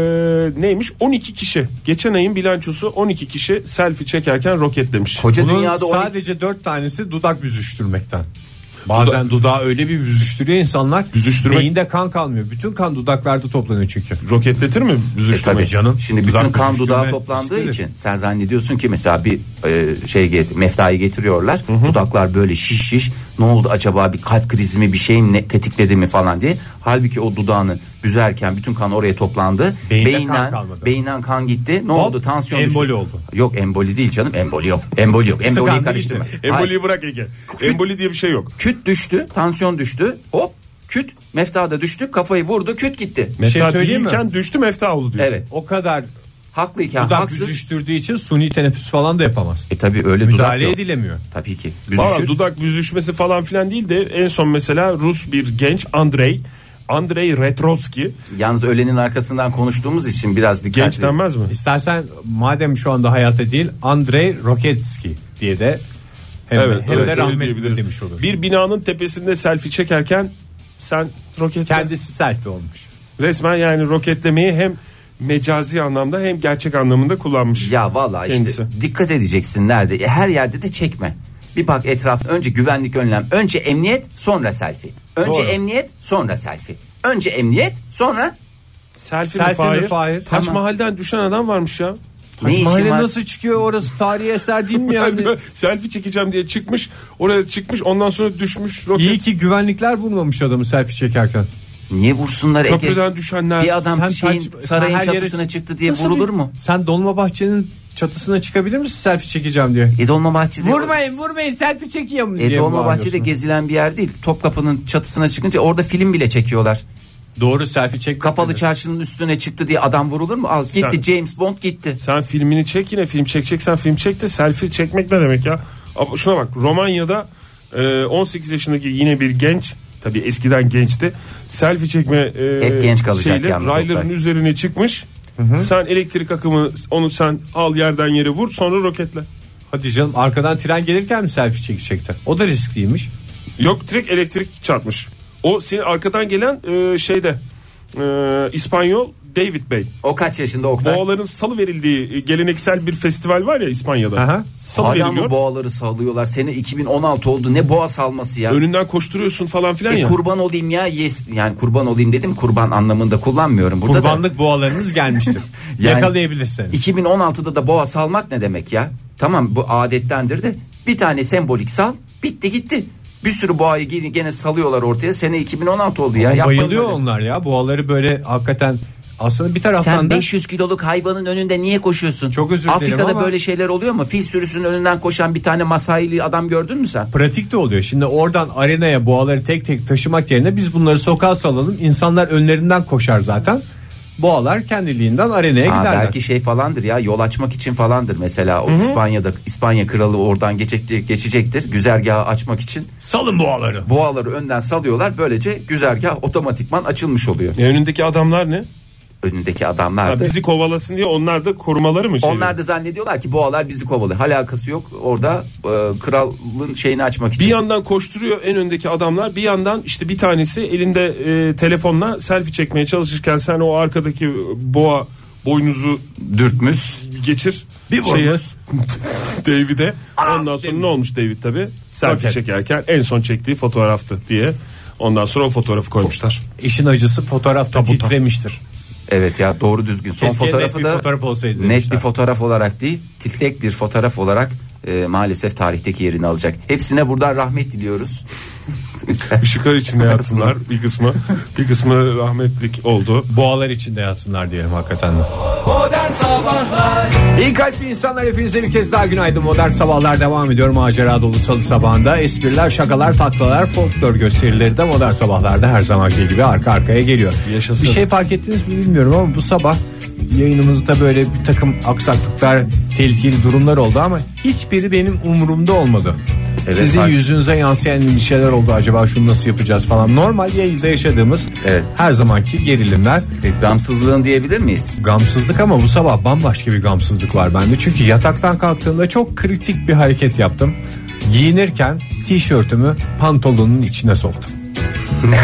[SPEAKER 3] neymiş? 12 kişi. Geçen ayın bilançosu 12 kişi selfie çekerken roketlemiş.
[SPEAKER 4] Koca
[SPEAKER 2] Bunun
[SPEAKER 4] dünyada E, on-
[SPEAKER 2] sadece dört tanesi dudak büzüştürmekten. Bazen dudağı öyle bir büzüştürüyor insanlar.
[SPEAKER 6] Büzüştürmek-
[SPEAKER 2] Beyinde kan kalmıyor. Bütün kan dudaklarda toplanıyor çünkü.
[SPEAKER 6] Roketletir mi büzüştürme?
[SPEAKER 4] E, Tabii
[SPEAKER 2] şey canım.
[SPEAKER 4] Şimdi bütün
[SPEAKER 6] Dudak
[SPEAKER 4] kan
[SPEAKER 6] büzüştürme
[SPEAKER 4] dudağa toplandığı
[SPEAKER 2] risklidir.
[SPEAKER 4] için sen zannediyorsun ki mesela bir e, şey get- meftayı getiriyorlar. Dudaklar böyle şiş şiş. Ne oldu acaba bir kalp krizi mi bir şeyin ne, tetikledi mi falan diye. Halbuki o dudağını büzerken bütün kan oraya toplandı.
[SPEAKER 2] Beyinde kan
[SPEAKER 4] beyinden
[SPEAKER 2] kalmadı.
[SPEAKER 4] beyinden kan gitti. Ne oldu? Tansiyon
[SPEAKER 2] emboli
[SPEAKER 4] düştü.
[SPEAKER 2] oldu.
[SPEAKER 4] Yok emboli değil canım. Emboli yok. Emboli yok. Emboliyi
[SPEAKER 2] Tıkandı
[SPEAKER 4] karıştırma. Hayır.
[SPEAKER 6] Emboliyi bırak Ege. Emboli diye bir şey yok.
[SPEAKER 4] Küt düştü, tansiyon düştü. Hop, küt meftada düştü, kafayı vurdu, küt gitti.
[SPEAKER 2] şey
[SPEAKER 6] Mefta
[SPEAKER 2] söyleyeyim mi?
[SPEAKER 6] değilken düştü mefta oldu diyorsun.
[SPEAKER 4] Evet.
[SPEAKER 2] O kadar
[SPEAKER 4] Haklıyken
[SPEAKER 2] dudak
[SPEAKER 4] haksız.
[SPEAKER 2] büzüştürdüğü için suni teneffüs falan da yapamaz.
[SPEAKER 4] E tabii öyle dudak
[SPEAKER 2] Müdahale
[SPEAKER 4] yok.
[SPEAKER 2] edilemiyor.
[SPEAKER 4] Tabii ki.
[SPEAKER 3] Valla
[SPEAKER 4] Büzüşür.
[SPEAKER 3] dudak büzüşmesi falan filan değil de en son mesela Rus bir genç Andrei Andrei Retrovski
[SPEAKER 4] Yalnız ölenin arkasından konuştuğumuz için biraz dikkatli.
[SPEAKER 3] genç denmez mi?
[SPEAKER 2] İstersen madem şu anda hayatta değil Andrei Roketski diye de hem,
[SPEAKER 3] Evet,
[SPEAKER 2] hem
[SPEAKER 3] evet,
[SPEAKER 2] de
[SPEAKER 3] öyle
[SPEAKER 2] rahmetli
[SPEAKER 3] diyebiliriz.
[SPEAKER 2] demiş olur.
[SPEAKER 3] Bir binanın tepesinde selfie çekerken sen roketle
[SPEAKER 2] Kendisi selfie olmuş.
[SPEAKER 3] resmen yani roketlemeyi hem mecazi anlamda hem gerçek anlamında kullanmış.
[SPEAKER 4] Ya vallahi işte
[SPEAKER 3] Kendisi.
[SPEAKER 4] dikkat edeceksin nerede. E, her yerde de çekme. Bir bak etraf önce güvenlik önlem, önce emniyet, sonra selfie. Önce
[SPEAKER 3] Doğru.
[SPEAKER 4] emniyet, sonra selfie. Önce emniyet, sonra
[SPEAKER 3] Selfie,
[SPEAKER 2] Selfie mi
[SPEAKER 3] mi Fahir?
[SPEAKER 2] Fahir?
[SPEAKER 3] Taç
[SPEAKER 4] Tamam.
[SPEAKER 3] Mahal'den düşen adam varmış ya.
[SPEAKER 4] ne işin
[SPEAKER 2] Mahalle
[SPEAKER 4] var?
[SPEAKER 2] nasıl çıkıyor orası tarihi eser değil mi [LAUGHS]
[SPEAKER 3] [LAUGHS]
[SPEAKER 2] yani?
[SPEAKER 3] Merdiven- selfie çekeceğim diye çıkmış. Oraya çıkmış ondan sonra düşmüş roket.
[SPEAKER 2] İyi ki güvenlikler vurmamış adamı selfie çekerken.
[SPEAKER 4] Niye vursunlar Ege?
[SPEAKER 3] Köprüden düşenler.
[SPEAKER 4] Bir adam
[SPEAKER 2] Sen
[SPEAKER 4] şeyin,
[SPEAKER 2] taç- sen
[SPEAKER 4] sarayın
[SPEAKER 2] her yere-
[SPEAKER 4] çatısına çıktı diye
[SPEAKER 2] Nasıl
[SPEAKER 4] vurulur
[SPEAKER 2] bir-
[SPEAKER 4] mu?
[SPEAKER 2] Sen Dolmabahçe'nin çatısına çıkabilir misin selfie çekeceğim diye?
[SPEAKER 4] E Dolmabahçe'de
[SPEAKER 2] Vurmayın vurmayın selfie çekiyorum
[SPEAKER 4] E,
[SPEAKER 2] diye
[SPEAKER 4] Dolmabahçe'de
[SPEAKER 2] bağırıyorsun.
[SPEAKER 4] gezilen bir yer değil. Topkapı'nın çatısına çıkınca orada film bile çekiyorlar.
[SPEAKER 2] Doğru selfie çek.
[SPEAKER 4] Kapalı çarşının üstüne çıktı diye adam vurulur mu? Al
[SPEAKER 3] Sen-
[SPEAKER 4] gitti James Bond gitti.
[SPEAKER 3] Sen filmini çek yine film çekeceksen film çek de selfie çekmek ne demek ya? Ab- Şuna bak Romanya'da e, 18 yaşındaki yine bir genç tabii eskiden gençti. Selfie çekme e,
[SPEAKER 4] Hep genç kalacak yalnız
[SPEAKER 3] rayların
[SPEAKER 4] Oktay.
[SPEAKER 3] üzerine çıkmış. Sen elektrik akımı onu sen al yerden yere vur sonra roketle.
[SPEAKER 2] Hadi canım arkadan tren gelirken mi selfie çekecekti? O da riskliymiş.
[SPEAKER 3] Yok direkt elektrik çarpmış. O senin arkadan gelen e, şeyde e, İspanyol David Bey.
[SPEAKER 4] O kaç yaşında Oktay?
[SPEAKER 3] Boğaların salı verildiği e, geleneksel bir festival var ya İspanya'da.
[SPEAKER 2] Aha.
[SPEAKER 3] Salı
[SPEAKER 4] Hala mı
[SPEAKER 3] veriliyor.
[SPEAKER 4] boğaları sallıyorlar? Sene 2016 oldu. Ne boğa salması ya?
[SPEAKER 3] Önünden koşturuyorsun falan filan
[SPEAKER 4] E,
[SPEAKER 3] ya.
[SPEAKER 4] kurban olayım ya. Yes. Yani kurban olayım dedim. Kurban anlamında kullanmıyorum. Burada da
[SPEAKER 2] Kurbanlık boğalarınız gelmiştir.
[SPEAKER 4] [LAUGHS] Yani-
[SPEAKER 2] Yakalayabilirsiniz.
[SPEAKER 4] 2016'da da boğa salmak ne demek ya? Tamam bu adettendir de bir tane sembolik sal bitti gitti. Bir sürü boğayı gene gene salıyorlar ortaya. Sene 2016 oldu ya. Yapmayın
[SPEAKER 2] Bayılıyor
[SPEAKER 4] böyle.
[SPEAKER 2] onlar ya. Boğaları böyle hakikaten aslında bir taraftan
[SPEAKER 4] Sen
[SPEAKER 2] da
[SPEAKER 4] 500 kiloluk hayvanın önünde niye koşuyorsun?
[SPEAKER 2] Çok özür dilerim
[SPEAKER 4] Afrika'da
[SPEAKER 2] ama-
[SPEAKER 4] böyle şeyler oluyor mu? Fil sürüsünün önünden koşan bir tane Masaili adam gördün mü sen?
[SPEAKER 2] pratik de oluyor. Şimdi oradan arenaya boğaları tek tek taşımak yerine biz bunları sokağa salalım. İnsanlar önlerinden koşar zaten. Boğalar kendiliğinden arenaya
[SPEAKER 4] Ha,
[SPEAKER 2] giderler.
[SPEAKER 4] belki şey falandır ya yol açmak için falandır mesela o İspanya'da İspanya kralı oradan geçecek, geçecektir güzergahı açmak için
[SPEAKER 2] Salın boğaları.
[SPEAKER 4] boğaları önden salıyorlar böylece güzergah otomatikman açılmış oluyor
[SPEAKER 3] E, önündeki adamlar ne?
[SPEAKER 4] önündeki
[SPEAKER 3] Ha,
[SPEAKER 4] adamlar da
[SPEAKER 3] bizi kovalasın diye onlar da korumaları mı? Şey?
[SPEAKER 4] onlar da zannediyorlar ki boğalar bizi kovalıyor alakası yok orada e, kralın şeyini açmak
[SPEAKER 3] bir
[SPEAKER 4] için
[SPEAKER 3] yandan koşturuyor en öndeki adamlar bir yandan işte bir tanesi elinde e, telefonla selfie çekmeye çalışırken sen o arkadaki boğa boynuzu
[SPEAKER 4] dürtmüş
[SPEAKER 3] geçir.
[SPEAKER 2] Bir
[SPEAKER 3] şeye,
[SPEAKER 2] vurmuş.
[SPEAKER 3] David'e. Ondan sonra ne olmuş David tabi? Selfie
[SPEAKER 2] Roket.
[SPEAKER 3] çekerken en son çektiği fotoğraftı diye. Ondan sonra o fotoğrafı koymuşlar.
[SPEAKER 2] İşin acısı fotoğrafta titremiştir.
[SPEAKER 4] evet ya doğru düzgün son
[SPEAKER 2] Keşke
[SPEAKER 4] fotoğrafı
[SPEAKER 2] net
[SPEAKER 4] da
[SPEAKER 2] bir fotoğraf olsaydı
[SPEAKER 4] net
[SPEAKER 2] demişler.
[SPEAKER 4] bir fotoğraf olarak değil titrek bir fotoğraf olarak e, maalesef tarihteki yerini alacak hepsine buradan
[SPEAKER 2] [LAUGHS]
[SPEAKER 4] rahmet diliyoruz
[SPEAKER 3] Işıklar içinde yatsınlar bir kısmı. Bir kısmı rahmetlik oldu.
[SPEAKER 2] Boğalar içinde yatsınlar diyelim hakikaten de.
[SPEAKER 5] Modern Sabahlar İyi kalpli insanlar hepinize bir kez daha günaydın Modern Sabahlar devam ediyor Macera dolu salı sabahında Espriler, şakalar, taklalar, folklor gösterileri de Modern Sabahlar'da her zamanki gibi arka arkaya geliyor
[SPEAKER 2] Yaşasın.
[SPEAKER 5] Bir şey fark ettiniz mi bilmiyorum ama bu sabah yayınımızda böyle bir takım aksaklıklar, tehlikeli durumlar oldu ama hiçbiri benim umurumda olmadı
[SPEAKER 2] Sizin
[SPEAKER 4] fark-
[SPEAKER 2] yüzünüze yansıyan bir şeyler oldu acaba şunu nasıl yapacağız falan. Normal yayında yaşadığımız
[SPEAKER 4] Evet.
[SPEAKER 2] her zamanki gerilimler.
[SPEAKER 4] Gamsızlığın diyebilir miyiz?
[SPEAKER 2] Gamsızlık ama bu sabah bambaşka bir gamsızlık var bende. Çünkü yataktan kalktığımda çok kritik bir hareket yaptım. Giyinirken tişörtümü pantolonun içine
[SPEAKER 4] [LAUGHS]
[SPEAKER 2] soktum.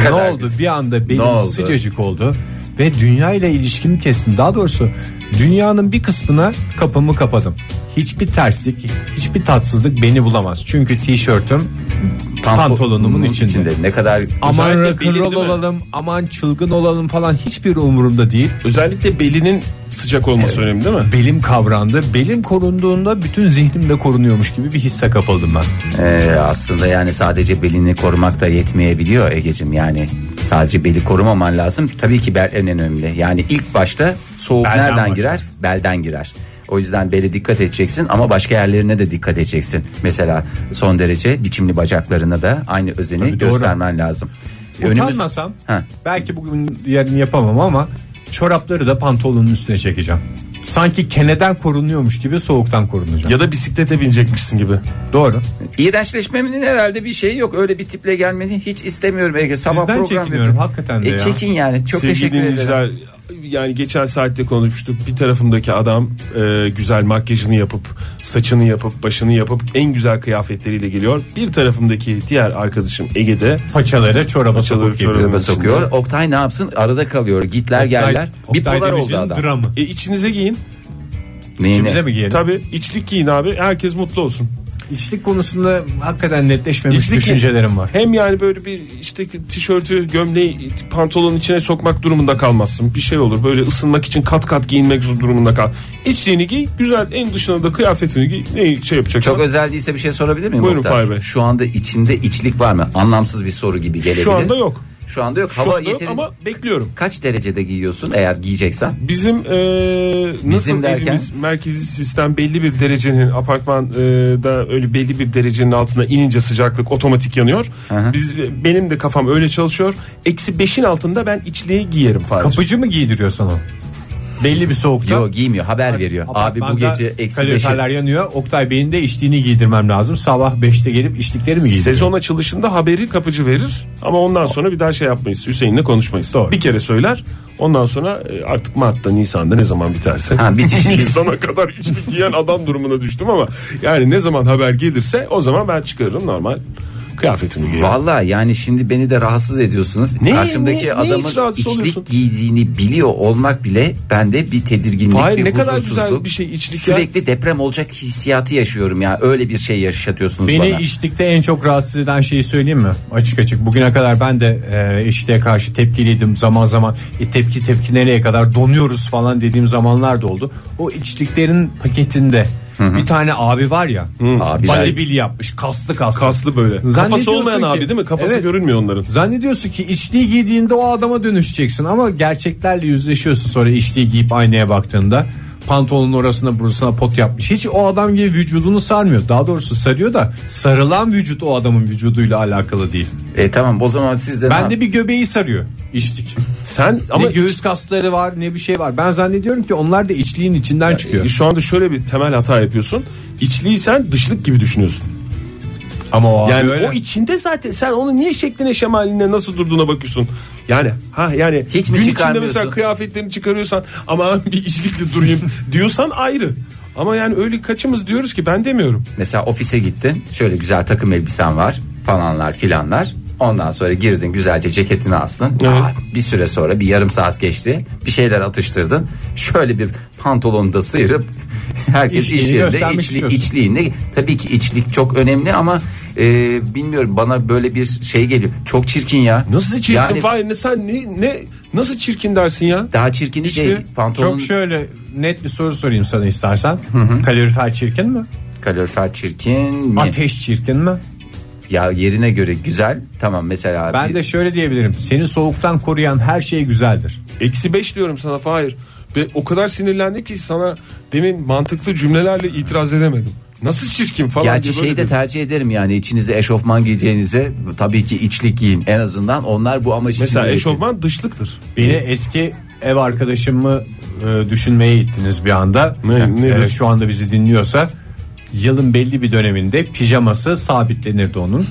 [SPEAKER 2] ne oldu? Bir anda benim
[SPEAKER 4] Ne oldu?
[SPEAKER 2] sıcacık oldu ve dünya ile ilişkimi kestim. Daha doğrusu dünyanın bir kısmına kapımı kapadım. Hiçbir terslik, hiçbir tatsızlık beni bulamaz. Çünkü tişörtüm pantolonumun içinde.
[SPEAKER 4] Ne kadar
[SPEAKER 2] Aman
[SPEAKER 3] Özellikle belli
[SPEAKER 2] rock'n'roll
[SPEAKER 3] değil mi?
[SPEAKER 2] olalım, aman çılgın olalım falan hiçbir umurumda değil.
[SPEAKER 3] Özellikle belinin sıcak olması önemli değil mi?
[SPEAKER 2] Belim kavrandı. Belim korunduğunda bütün zihnim de korunuyormuş gibi bir hisse kapıldım ben.
[SPEAKER 4] Ee, aslında yani sadece belini korumak da yetmeyebiliyor Ege'cim yani sadece beli korumaman lazım tabii ki bel en önemli yani ilk başta soğuk
[SPEAKER 2] Belden
[SPEAKER 4] nereden
[SPEAKER 2] başlar.
[SPEAKER 4] girer belden girer o yüzden beli dikkat edeceksin ama başka yerlerine de dikkat edeceksin mesela son derece biçimli bacaklarına da aynı özeni
[SPEAKER 2] doğru.
[SPEAKER 4] göstermen lazım
[SPEAKER 2] Utanmasam
[SPEAKER 4] Ha.
[SPEAKER 2] belki bugün yarın yapamam ama çorapları da pantolonun üstüne çekeceğim. Sanki keneden korunuyormuş gibi soğuktan korunacağım.
[SPEAKER 6] Ya da bisiklete binecekmişsin gibi.
[SPEAKER 2] Doğru.
[SPEAKER 4] İğrençleşmemin herhalde bir şeyi yok öyle bir tiple gelmeni hiç istemiyorum Ege sabah
[SPEAKER 2] Sizden
[SPEAKER 4] program
[SPEAKER 2] çekiniyorum,
[SPEAKER 4] yapıyorum.
[SPEAKER 2] hakikaten de
[SPEAKER 4] E,
[SPEAKER 2] ya.
[SPEAKER 4] çekin yani çok
[SPEAKER 3] Sevgili
[SPEAKER 4] teşekkür ederim
[SPEAKER 3] dinleyiciler yani geçen saatte konuşmuştuk bir tarafımdaki adam e, güzel makyajını yapıp saçını yapıp başını yapıp en güzel kıyafetleriyle geliyor. Bir tarafımdaki diğer arkadaşım Ege'de
[SPEAKER 2] Paçaları çoraba
[SPEAKER 3] Paçaları
[SPEAKER 2] sokup geliyor.
[SPEAKER 3] çoraba.
[SPEAKER 4] Gruba sokuyor. Oktay ne yapsın? Arada kalıyor. Gitler
[SPEAKER 2] Oktay-
[SPEAKER 4] geldiler.
[SPEAKER 2] Oktay
[SPEAKER 4] Bipolar oldu
[SPEAKER 2] Demirci'nin
[SPEAKER 4] adam.
[SPEAKER 2] Dramı.
[SPEAKER 3] e, içinize giyin
[SPEAKER 4] Neyine?
[SPEAKER 2] İçimize mi giyelim?
[SPEAKER 3] tabi içlik giyin abi herkes mutlu olsun.
[SPEAKER 2] İçlik konusunda hakikaten netleşmemiş
[SPEAKER 3] İçlik-
[SPEAKER 2] düşüncelerim var.
[SPEAKER 3] Hem yani böyle bir işte tişörtü gömleği pantolonun içine sokmak durumunda kalmazsın. Bir şey olur böyle ısınmak için kat kat giyinmek durumunda kal. İçliğini giy güzel en dışına da kıyafetini giy ne şey yapacaksın.
[SPEAKER 4] Çok özel değilse bir şey sorabilir miyim?
[SPEAKER 3] Buyurun
[SPEAKER 4] Oktay?
[SPEAKER 3] Fahir Bey.
[SPEAKER 4] Şu anda içinde içlik var mı? Anlamsız bir soru gibi gelebilir.
[SPEAKER 3] Şu anda yok.
[SPEAKER 4] Şu anda yok.
[SPEAKER 3] Şu
[SPEAKER 4] Hava
[SPEAKER 3] anda yok
[SPEAKER 4] yeterin-
[SPEAKER 3] ama bekliyorum.
[SPEAKER 4] Kaç derecede giyiyorsun eğer giyeceksen?
[SPEAKER 3] Bizim e, nasıl
[SPEAKER 4] Bizim derken?
[SPEAKER 3] evimiz merkezi sistem belli bir derecenin apartmanda öyle belli bir derecenin altına inince sıcaklık otomatik yanıyor.
[SPEAKER 4] hı.
[SPEAKER 3] Biz benim de kafam öyle çalışıyor. Eksi beşin altında ben içliği giyerim falan.
[SPEAKER 2] Kapıcı mı giydiriyor sana? Belli bir soğukta.
[SPEAKER 4] Yok giymiyor. Haber veriyor. Abi bu
[SPEAKER 2] Apartmanda
[SPEAKER 4] gece eksi beşi.
[SPEAKER 2] kaloriferler yanıyor. Oktay Bey'in de içtiğini giydirmem lazım. Sabah 5'te gelip içtikleri mi giydiriyor?
[SPEAKER 3] Sezon açılışında haberi kapıcı verir ama ondan sonra bir daha şey yapmayız. Hüseyin'le konuşmayız.
[SPEAKER 2] Doğru.
[SPEAKER 3] Bir kere söyler. Ondan sonra e, artık Mart'ta Nisan'da ne zaman biterse.
[SPEAKER 4] Ha,
[SPEAKER 3] [LAUGHS]
[SPEAKER 4] bitişi-
[SPEAKER 3] Nisan'a kadar içlik giyen adam durumuna düştüm ama yani ne zaman haber gelirse o zaman ben çıkarırım normal kıyafetimi giyerim.
[SPEAKER 4] Valla yani şimdi beni de rahatsız ediyorsunuz.
[SPEAKER 3] Ne-
[SPEAKER 4] Karşımdaki
[SPEAKER 3] ne- ne
[SPEAKER 4] adamın
[SPEAKER 3] hiç rahatsız
[SPEAKER 4] içlik
[SPEAKER 3] oluyorsun?
[SPEAKER 4] giydiğini biliyor olmak bile bende bir tedirginlik,
[SPEAKER 3] Hayır,
[SPEAKER 4] bir
[SPEAKER 3] ne kadar
[SPEAKER 4] huzursuzluk.
[SPEAKER 3] güzel bir şey içlik ya.
[SPEAKER 4] Sürekli deprem olacak hissiyatı yaşıyorum ya. Öyle bir şey yaşatıyorsunuz
[SPEAKER 2] Beni
[SPEAKER 4] bana.
[SPEAKER 2] içlikte en çok rahatsız eden şeyi söyleyeyim mi? Açık açık. Bugüne kadar ben de e, içliğe karşı tepkiliydim zaman zaman. E, tepki tepki nereye kadar donuyoruz falan dediğim zamanlar da oldu. O içliklerin paketinde bir tane abi var ya.
[SPEAKER 4] Abi
[SPEAKER 2] Bodybuild yapmış. Kaslı kaslı.
[SPEAKER 3] Kaslı böyle. Kafası
[SPEAKER 2] Zannediyorsun
[SPEAKER 3] olmayan
[SPEAKER 2] ki-
[SPEAKER 3] abi değil mi? Kafası
[SPEAKER 2] Evet.
[SPEAKER 3] görünmüyor onların.
[SPEAKER 2] Zannediyorsun ki içliği giydiğinde o adama dönüşeceksin ama gerçeklerle yüzleşiyorsun sonra içliği giyip aynaya baktığında pantolonun orasına burasına pot yapmış. Hiç o adam gibi vücudunu sarmıyor. Daha doğrusu sarıyor da sarılan vücut o adamın vücuduyla alakalı değil.
[SPEAKER 4] E tamam o zaman siz de ne
[SPEAKER 2] Ben
[SPEAKER 4] yap-
[SPEAKER 2] de bir göbeği sarıyor içlik.
[SPEAKER 3] Sen
[SPEAKER 2] Ama
[SPEAKER 3] ama
[SPEAKER 2] ne göğüs kasları var ne bir şey var. Ben zannediyorum ki onlar da içliğin içinden çıkıyor.
[SPEAKER 3] e, şu anda şöyle bir temel hata yapıyorsun. İçliği sen dışlık gibi düşünüyorsun.
[SPEAKER 2] Ama o abi
[SPEAKER 3] yani
[SPEAKER 2] öyle.
[SPEAKER 3] o içinde zaten sen onu niye şekline şemaline nasıl durduğuna bakıyorsun. Yani ha yani
[SPEAKER 4] Hiç mi
[SPEAKER 3] gün içinde
[SPEAKER 4] çıkarmıyorsun?
[SPEAKER 3] mesela kıyafetlerini çıkarıyorsan ama [LAUGHS] bir içlikle durayım diyorsan ayrı. Ama yani öyle kaçımız diyoruz ki ben demiyorum.
[SPEAKER 4] Mesela ofise gittin şöyle güzel takım elbisen var falanlar filanlar. Ondan sonra girdin güzelce ceketini astın. Aa, bir süre sonra bir yarım saat geçti. Bir şeyler atıştırdın. Şöyle bir pantolonda sıyırıp [LAUGHS] herkes
[SPEAKER 2] İçliğini
[SPEAKER 4] iş yerinde
[SPEAKER 2] göstermek
[SPEAKER 4] içli,
[SPEAKER 2] istiyorsun.
[SPEAKER 4] içliğinde. Tabii ki içlik çok önemli ama e, bilmiyorum bana böyle bir şey geliyor. Çok çirkin ya.
[SPEAKER 3] Nasıl çirkin
[SPEAKER 4] Yani
[SPEAKER 3] Fahir, ne sen ne, ne nasıl çirkin dersin ya?
[SPEAKER 4] daha çirkin
[SPEAKER 3] İşte
[SPEAKER 4] şey pantolon
[SPEAKER 2] Çok şöyle net bir soru sorayım sana istersen. Kalorifer çirkin mi?
[SPEAKER 4] kalorifer çirkin mi?
[SPEAKER 2] Ateş çirkin mi?
[SPEAKER 4] Ya yerine göre güzel. Tamam mesela
[SPEAKER 2] Ben
[SPEAKER 4] bir-
[SPEAKER 2] de şöyle diyebilirim. Seni soğuktan koruyan her şey güzeldir.
[SPEAKER 3] Eksi 5 diyorum sana Fahir. Ve o kadar sinirlendim ki sana demin mantıklı cümlelerle itiraz edemedim. Nasıl çirkin falan
[SPEAKER 4] Gerçi
[SPEAKER 3] diye böyle
[SPEAKER 4] şeyi de
[SPEAKER 3] dedim.
[SPEAKER 4] tercih ederim yani içinize eşofman giyeceğinize tabii ki içlik giyin en azından onlar bu amaç için.
[SPEAKER 3] Mesela
[SPEAKER 4] gerekli.
[SPEAKER 3] eşofman dışlıktır.
[SPEAKER 2] Beni eski ev arkadaşımı e, düşünmeye ittiniz bir anda.
[SPEAKER 3] Ne- nedir?
[SPEAKER 2] E, şu anda bizi dinliyorsa yılın belli bir döneminde pijaması sabitlenirdi onun.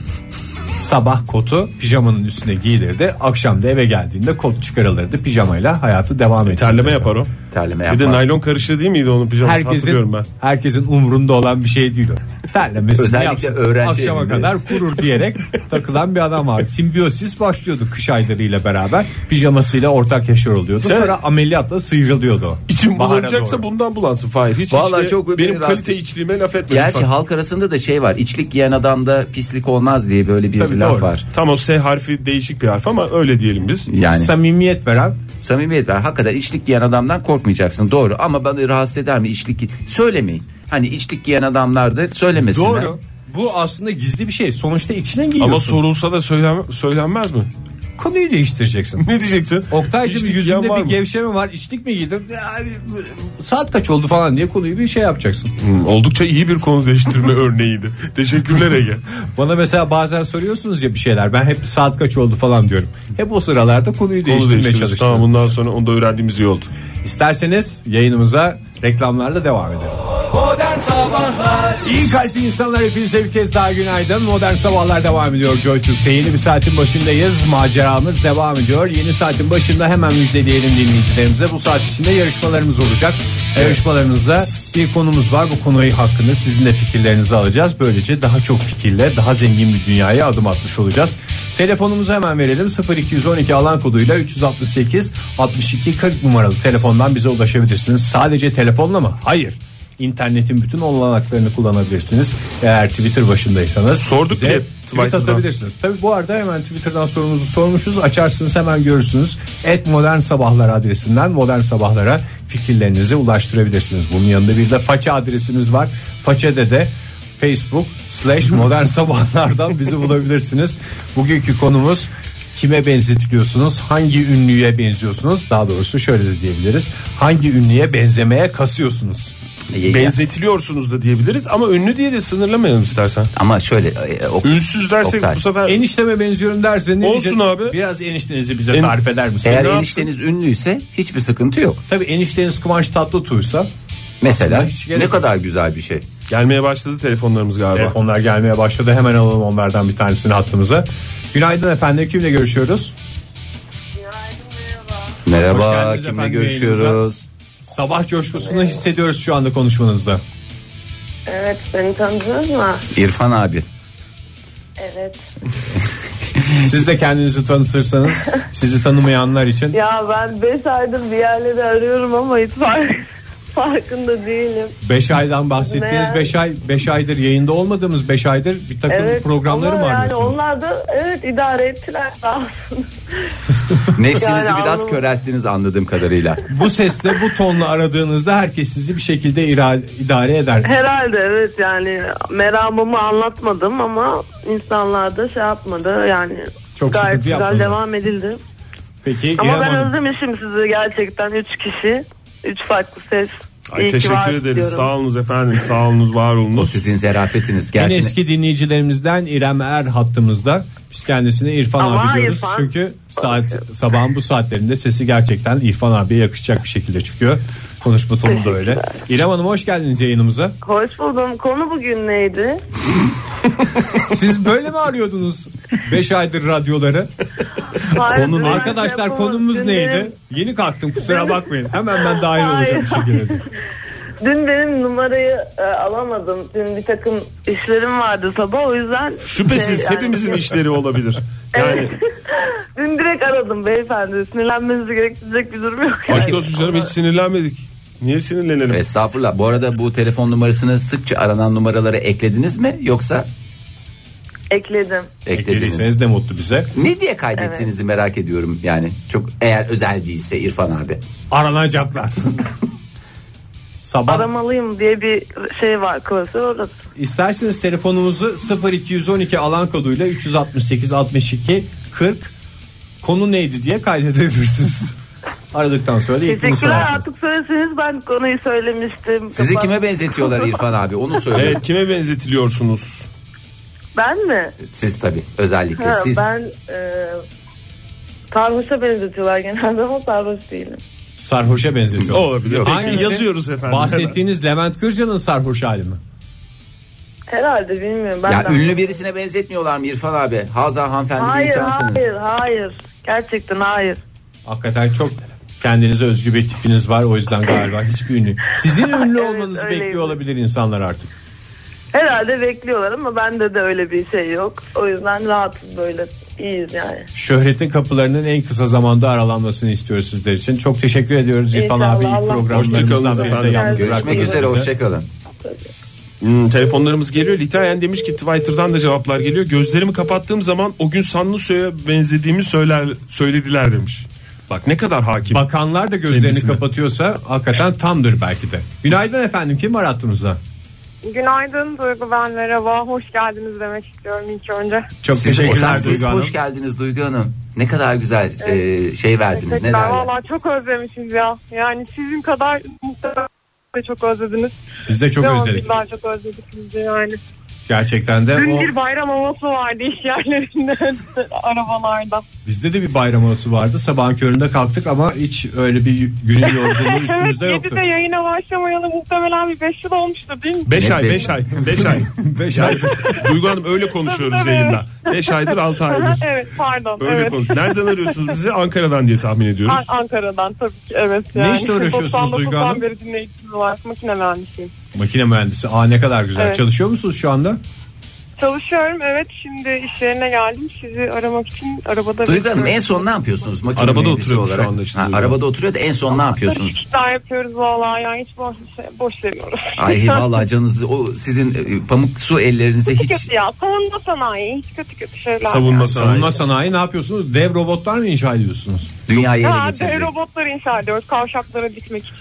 [SPEAKER 2] Sabah kotu pijamanın
[SPEAKER 3] E,
[SPEAKER 2] üstüne giyilirdi. Akşam da eve geldiğinde kot çıkarılırdı. Pijamayla hayatı devam ettirirdi.
[SPEAKER 3] Terleme yapar o.
[SPEAKER 4] terleme
[SPEAKER 7] Bir
[SPEAKER 4] yapmak.
[SPEAKER 7] de naylon karışığı değil miydi onun pijaması
[SPEAKER 2] herkesin
[SPEAKER 7] hatırlıyorum ben.
[SPEAKER 2] herkesin umrunda olan bir şey değil o. Terlemesini
[SPEAKER 4] Özellikle
[SPEAKER 2] yapsın.
[SPEAKER 4] öğrenci
[SPEAKER 2] Akşama
[SPEAKER 4] evinde.
[SPEAKER 2] kadar kurur diyerek takılan bir adam var. Simbiyosis başlıyordu kış aylarıyla beraber. Pijamasıyla ortak yaşar oluyordu. Sonra ameliyatla sıyrılıyordu. o.
[SPEAKER 3] İçim
[SPEAKER 2] Bahara
[SPEAKER 3] bulanacaksa
[SPEAKER 2] doğru.
[SPEAKER 3] bundan bulansın Fahir. Hiç
[SPEAKER 4] Vallahi
[SPEAKER 3] içli-
[SPEAKER 4] çok
[SPEAKER 3] benim
[SPEAKER 4] beni rahatsız-
[SPEAKER 3] kalite içliğime laf etme.
[SPEAKER 4] Gerçi
[SPEAKER 3] lütfen.
[SPEAKER 4] halk arasında da şey var. İçlik giyen adamda pislik olmaz diye böyle bir
[SPEAKER 2] Tabii,
[SPEAKER 4] laf
[SPEAKER 2] doğru.
[SPEAKER 4] var.
[SPEAKER 3] Tam o S harfi değişik bir harf ama öyle diyelim biz.
[SPEAKER 4] Yani
[SPEAKER 2] Samimiyet veren
[SPEAKER 4] samimiyet var. Hakikaten içlik giyen adamdan korkmayacaksın. Doğru ama bana rahatsız eder mi içlik? gi- Söylemeyin. Hani içlik giyen adamlar da söylemesinler.
[SPEAKER 2] doğru. Bu aslında gizli bir şey. Sonuçta içine giyiyorsun.
[SPEAKER 3] Ama sorulsa da söylen- söylenmez mi? [LAUGHS]
[SPEAKER 2] konuyu değiştireceksin.
[SPEAKER 3] Ne diyeceksin?
[SPEAKER 2] Oktaycığım
[SPEAKER 3] İçlik
[SPEAKER 2] yüzünde
[SPEAKER 3] giyen var
[SPEAKER 2] bir
[SPEAKER 3] mı?
[SPEAKER 2] gevşeme var. İçlik mi giydin? Ya, saat kaç oldu falan diye konuyu bir şey yapacaksın.
[SPEAKER 3] Hmm, Oldukça iyi bir konu değiştirme
[SPEAKER 4] [LAUGHS]
[SPEAKER 3] örneğiydi. Teşekkürler Ege.
[SPEAKER 2] Bana mesela bazen soruyorsunuz ya bir şeyler. Ben hep saat kaç oldu falan diyorum. Hep o sıralarda konuyu
[SPEAKER 3] Konu
[SPEAKER 2] değiştirmeye
[SPEAKER 3] değiştiriyoruz.
[SPEAKER 2] çalıştım.
[SPEAKER 3] Tamam bundan sonra onu da öğrendiğimiz iyi oldu.
[SPEAKER 2] İsterseniz yayınımıza reklamlarla devam edelim.
[SPEAKER 8] Modern Sabahlar
[SPEAKER 2] İyi kalpli insanlar hepinize bir kez daha günaydın. Modern Sabahlar devam ediyor Joy Türk'te. Yeni bir saatin başındayız. Maceramız devam ediyor. Yeni saatin başında hemen müjdeleyelim dinleyicilerimize. Bu saat içinde yarışmalarımız olacak. Yarışmalarımızda bir konumuz var. Bu konuyu hakkında sizin de fikirlerinizi alacağız. Böylece daha çok fikirle daha zengin bir dünyaya adım atmış olacağız. Telefonumuzu hemen verelim. 0212 alan koduyla 368 62 40 numaralı telefondan bize ulaşabilirsiniz. Sadece telefonla mı? Hayır. İnternetin bütün olanaklarını kullanabilirsiniz. Eğer Twitter başındaysanız.
[SPEAKER 3] Sorduk
[SPEAKER 2] bize
[SPEAKER 3] bile
[SPEAKER 2] tweet
[SPEAKER 3] Twitter'dan.
[SPEAKER 2] atabilirsiniz. Tabi bu arada hemen Twitter'dan sorumuzu sormuşuz. Açarsınız hemen görürsünüz. Et Modern Sabahlar adresinden Modern Sabahlar'a fikirlerinizi ulaştırabilirsiniz. Bunun yanında bir de faça adresimiz var. Façede de Facebook
[SPEAKER 3] [LAUGHS]
[SPEAKER 2] slash modern sabahlardan bizi bulabilirsiniz. Bugünkü konumuz kime benzetiliyorsunuz? Hangi ünlüye benziyorsunuz? Daha doğrusu şöyle de diyebiliriz. Hangi ünlüye benzemeye kasıyorsunuz?
[SPEAKER 4] E, Ya-
[SPEAKER 3] Benzetiliyorsunuz da diyebiliriz ama ünlü diye de sınırlamayalım istersen.
[SPEAKER 4] Ama şöyle e, ok-
[SPEAKER 3] Ünsüz dersek
[SPEAKER 4] Oktay.
[SPEAKER 3] bu sefer
[SPEAKER 2] Enişteme benziyorum dersen ne
[SPEAKER 3] Olsun
[SPEAKER 2] diyeceksin?
[SPEAKER 3] abi.
[SPEAKER 2] Biraz eniştenizi bize
[SPEAKER 3] En-
[SPEAKER 2] tarif eder misin?
[SPEAKER 4] eğer
[SPEAKER 2] Ne yap-
[SPEAKER 4] enişteniz ünlüyse hiçbir sıkıntı yok.
[SPEAKER 2] Tabii enişteniz Kıvanç Tatlıtuğ'sa
[SPEAKER 4] Mesela
[SPEAKER 2] Aslında hiç gerek
[SPEAKER 4] ne
[SPEAKER 2] yok.
[SPEAKER 4] kadar güzel bir şey.
[SPEAKER 3] gelmeye başladı telefonlarımız galiba.
[SPEAKER 2] telefonlar gelmeye başladı. Hemen alalım onlardan bir tanesini hattımıza. Günaydın efendim. Kimle görüşüyoruz? Hoş
[SPEAKER 4] Merhaba
[SPEAKER 2] geldiniz
[SPEAKER 4] kimle
[SPEAKER 2] efendim
[SPEAKER 4] görüşüyoruz?
[SPEAKER 2] Sabah coşkusunu hissediyoruz şu anda konuşmanızda.
[SPEAKER 9] Evet beni tanıdınız mı?
[SPEAKER 4] İrfan abi.
[SPEAKER 9] Evet.
[SPEAKER 2] Siz de kendinizi tanıtırsanız
[SPEAKER 9] [LAUGHS]
[SPEAKER 2] sizi tanımayanlar için
[SPEAKER 9] Ya ben 5 aydır bir yerleri arıyorum ama hiç fark, [LAUGHS] farkında değilim.
[SPEAKER 2] 5 aydan bahsettiğiniz
[SPEAKER 9] Meğer-
[SPEAKER 2] 5 ay 5 aydır yayında olmadığımız 5 aydır bir takım
[SPEAKER 9] Evet.
[SPEAKER 2] programları
[SPEAKER 9] ama
[SPEAKER 2] mı
[SPEAKER 9] yani
[SPEAKER 2] arıyorsunuz?
[SPEAKER 9] onlar da evet idare ettiler [LAUGHS] sağ olsun.
[SPEAKER 4] Nefsinizi
[SPEAKER 9] Yani
[SPEAKER 4] biraz
[SPEAKER 9] anlamadım.
[SPEAKER 4] körelttiniz anladığım kadarıyla.
[SPEAKER 2] Bu sesle bu tonla aradığınızda herkes sizi bir şekilde ira- idare eder.
[SPEAKER 9] Herhalde evet yani meramımı anlatmadım ama insanlar da şey yapmadı yani.
[SPEAKER 2] Çok
[SPEAKER 9] gayet
[SPEAKER 2] sıkıntı
[SPEAKER 9] güzel
[SPEAKER 2] yapmadı.
[SPEAKER 9] devam edildi.
[SPEAKER 2] Peki
[SPEAKER 9] Ama
[SPEAKER 2] İrem
[SPEAKER 9] ben
[SPEAKER 2] Hanım.
[SPEAKER 9] özlemişim sizi gerçekten 3 kişi. 3 farklı ses.
[SPEAKER 3] Ay,
[SPEAKER 9] İyi ki
[SPEAKER 3] teşekkür
[SPEAKER 9] varsınız
[SPEAKER 3] ederiz.
[SPEAKER 9] diyorum.
[SPEAKER 3] Sağ olunuz efendim. Sağ olunuz, var
[SPEAKER 4] O
[SPEAKER 3] olunuz.
[SPEAKER 4] sizin zerafetiniz.
[SPEAKER 2] En
[SPEAKER 4] Gerçi
[SPEAKER 2] eski dinleyicilerimizden İrem Er hattımızda. Biz kendisine İrfan
[SPEAKER 9] Ama
[SPEAKER 2] abi diyoruz.
[SPEAKER 9] İrfan-
[SPEAKER 2] Çünkü saat sabahın bu saatlerinde sesi gerçekten İrfan abiye yakışacak bir şekilde çıkıyor. Konuşma tonu da öyle. İrem Hanım hoş geldiniz yayınımıza.
[SPEAKER 9] Hoş buldum. Konu
[SPEAKER 2] [LAUGHS]
[SPEAKER 9] bugün neydi?
[SPEAKER 2] Siz böyle mi arıyordunuz 5 aydır radyoları?
[SPEAKER 9] Hayır,
[SPEAKER 4] Konu ne?
[SPEAKER 9] ben
[SPEAKER 2] Arkadaşlar
[SPEAKER 9] yapamadım.
[SPEAKER 2] konumuz
[SPEAKER 9] Dün
[SPEAKER 2] neydi?
[SPEAKER 9] benim-
[SPEAKER 2] Yeni kalktım kusura bakmayın. Hemen ben dahil olacağım bir şekilde.
[SPEAKER 9] Dün benim numarayı e, alamadım. Dün bir takım işlerim vardı sabah o yüzden.
[SPEAKER 3] Şüphesiz
[SPEAKER 9] şey, [LAUGHS] yani-
[SPEAKER 3] hepimizin işleri olabilir.
[SPEAKER 9] Evet.
[SPEAKER 3] Yani
[SPEAKER 9] Dün direkt aradım beyefendi. Sinirlenmenizi gerektirecek bir durum yok. yani.
[SPEAKER 3] başka olsun canım hiç sinirlenmedik. Niye sinirlenelim?
[SPEAKER 4] Estağfurullah. Bu arada bu telefon numarasını sıkça aranan numaralara eklediniz mi yoksa
[SPEAKER 9] Ekledim.
[SPEAKER 4] eklediniz?
[SPEAKER 2] Dediyseniz de mutlu bize.
[SPEAKER 4] Ne diye kaydettiğinizi merak ediyorum yani. Çok eğer özel değilse İrfan abi.
[SPEAKER 2] Aranacaklar. Sabah
[SPEAKER 9] Aramalıyım diye bir şey var. Klasör orası.
[SPEAKER 2] İsterseniz telefonumuzu 0212 alan koduyla 368 62 40 konu neydi diye kaydedebilirsiniz. Aradıktan sonra da ilk bunu
[SPEAKER 9] Teşekkürler
[SPEAKER 2] sorarsınız.
[SPEAKER 9] artık söyleseniz ben konuyu söylemiştim.
[SPEAKER 4] Sizi
[SPEAKER 9] Kapat-
[SPEAKER 4] kime benzetiyorlar
[SPEAKER 9] [LAUGHS]
[SPEAKER 4] İrfan abi? Onu söyle.
[SPEAKER 3] Evet kime benzetiliyorsunuz?
[SPEAKER 9] Ben mi?
[SPEAKER 4] Siz tabii özellikle
[SPEAKER 9] Ha,
[SPEAKER 4] siz.
[SPEAKER 9] Ben e, sarhoşa benzetiyorlar genelde ama sarhoş değilim.
[SPEAKER 2] Sarhoşa
[SPEAKER 3] O
[SPEAKER 2] benzetiyor.
[SPEAKER 3] Olabilir.
[SPEAKER 4] Yok.
[SPEAKER 3] Oh, Peki,
[SPEAKER 2] Hangisi?
[SPEAKER 3] yazıyoruz efendim.
[SPEAKER 2] Bahsettiğiniz Levent Kırca'nın sarhoş hali mi?
[SPEAKER 9] Herhalde bilmiyorum. Ben
[SPEAKER 4] ya
[SPEAKER 9] de-
[SPEAKER 4] ünlü birisine benzetmiyorlar mı İrfan abi? Hazan hanımefendi bir
[SPEAKER 9] Hayır
[SPEAKER 4] insansınız.
[SPEAKER 9] hayır hayır. Gerçekten hayır.
[SPEAKER 2] Hakikaten çok Kendinize özgü bir tipiniz var o yüzden galiba hiçbir ünlü. Sizin ünlü
[SPEAKER 10] Evet,
[SPEAKER 2] olmanızı
[SPEAKER 10] öyleyim.
[SPEAKER 2] bekliyor olabilir insanlar artık.
[SPEAKER 10] Herhalde bekliyorlar ama bende de öyle bir şey yok. O yüzden rahatız böyle iyiyiz yani.
[SPEAKER 2] Şöhretin kapılarının en kısa zamanda aralanmasını istiyoruz sizler için. Çok teşekkür ediyoruz İrfan
[SPEAKER 10] İnşallah
[SPEAKER 2] abi.
[SPEAKER 10] Allah-
[SPEAKER 2] İlk
[SPEAKER 3] Hoşçakalın
[SPEAKER 2] programlarımızdan birinde
[SPEAKER 3] efendim.
[SPEAKER 2] yalnız
[SPEAKER 4] Görüşmek
[SPEAKER 2] bırakmadınız
[SPEAKER 4] üzere
[SPEAKER 2] bizi.
[SPEAKER 4] hoşçakalın.
[SPEAKER 3] Hmm, telefonlarımız geliyor. Litayen demiş ki Twitter'dan da cevaplar geliyor. Gözlerimi kapattığım zaman o gün Sanlısoy'a benzediğimi söyler, söylediler demiş. Bak ne kadar hakim.
[SPEAKER 2] Bakanlar da gözlerini
[SPEAKER 3] Kendisine.
[SPEAKER 2] kapatıyorsa hakikaten tamdır belki de. Günaydın efendim kim var hattımızda?
[SPEAKER 11] Günaydın Duygu ben merhaba. Hoş geldiniz demek istiyorum ilk önce.
[SPEAKER 2] Çok
[SPEAKER 4] Siz,
[SPEAKER 2] teşekkürler
[SPEAKER 4] siz
[SPEAKER 2] Duygu Hanım.
[SPEAKER 4] hoş geldiniz Duygu Hanım. Ne kadar güzel e, şey verdiniz. Ne
[SPEAKER 11] Teşekkürler.
[SPEAKER 4] derler?
[SPEAKER 11] Valla çok özlemişiz ya. Yani sizin kadar muhtemelen de çok özlediniz.
[SPEAKER 2] Biz de çok
[SPEAKER 11] Ve
[SPEAKER 2] özledik.
[SPEAKER 11] Biz daha çok özledik sizi yani.
[SPEAKER 2] Gerçekten de
[SPEAKER 11] Dün
[SPEAKER 2] o
[SPEAKER 11] bir bayram havası vardı iş yerlerinde, [LAUGHS] arabalarda.
[SPEAKER 2] bizde de bir bayram havası vardı. Sabahın köründe kalktık ama hiç öyle bir
[SPEAKER 11] [LAUGHS]
[SPEAKER 2] günün yorgunluğu
[SPEAKER 11] Evet
[SPEAKER 2] üstümüzde yoktu.
[SPEAKER 11] 7'de
[SPEAKER 2] [LAUGHS]
[SPEAKER 11] yayına başlamayalı muhtemelen bir 5 yıl olmuştu değil mi?
[SPEAKER 3] 5
[SPEAKER 4] Ne
[SPEAKER 3] ay
[SPEAKER 4] beş-
[SPEAKER 3] 5 ay 5 ay.
[SPEAKER 2] 5 ay.
[SPEAKER 3] [LAUGHS] Duygu Hanım öyle konuşuyoruz yayında. 5 aydır 6 aydır.
[SPEAKER 11] [LAUGHS] evet pardon.
[SPEAKER 3] Öyle
[SPEAKER 11] evet.
[SPEAKER 3] konuş. Nereden arıyorsunuz bizi? Ankara'dan diye tahmin ediyoruz.
[SPEAKER 11] An- Ankara'dan tabii ki evet. Yani.
[SPEAKER 2] işle uğraşıyorsunuz Duygu Hanım?
[SPEAKER 11] 99'dan beri dinleyicimiz var. Makine mühendisiyim.
[SPEAKER 2] Makine mühendisi. Aa ne kadar güzel.
[SPEAKER 11] Evet.
[SPEAKER 2] Çalışıyor musunuz şu anda?
[SPEAKER 11] Çalışıyorum evet şimdi iş yerine geldim sizi aramak için arabada
[SPEAKER 4] Duygu Hanım en
[SPEAKER 11] bekliyorum.
[SPEAKER 4] son ne yapıyorsunuz? Makine
[SPEAKER 3] Arabada
[SPEAKER 4] mühendisi
[SPEAKER 3] oturuyormuş şu
[SPEAKER 4] olarak.
[SPEAKER 3] anda işte
[SPEAKER 4] Ha,
[SPEAKER 3] Duygu Hanım.
[SPEAKER 4] arabada oturuyor da en son ne yapıyorsunuz?
[SPEAKER 11] [LAUGHS] İşler yapıyoruz vallahi yani hiç boş, boş veriyoruz.
[SPEAKER 4] Ay vallahi canınızı o sizin e, pamuk su ellerinize
[SPEAKER 11] Hiç
[SPEAKER 4] hiç
[SPEAKER 11] kötü ya savunma sanayi hiç kötü kötü şeyler.
[SPEAKER 3] Savunma sanayi.
[SPEAKER 2] Savunma sanayi ne yapıyorsunuz? Dev robotlar mı inşa ediyorsunuz?
[SPEAKER 4] dünyayı ele
[SPEAKER 11] Ha,
[SPEAKER 2] şey.
[SPEAKER 4] geçirecek.
[SPEAKER 11] robotları inşa ediyoruz kavşaklara dikmek için.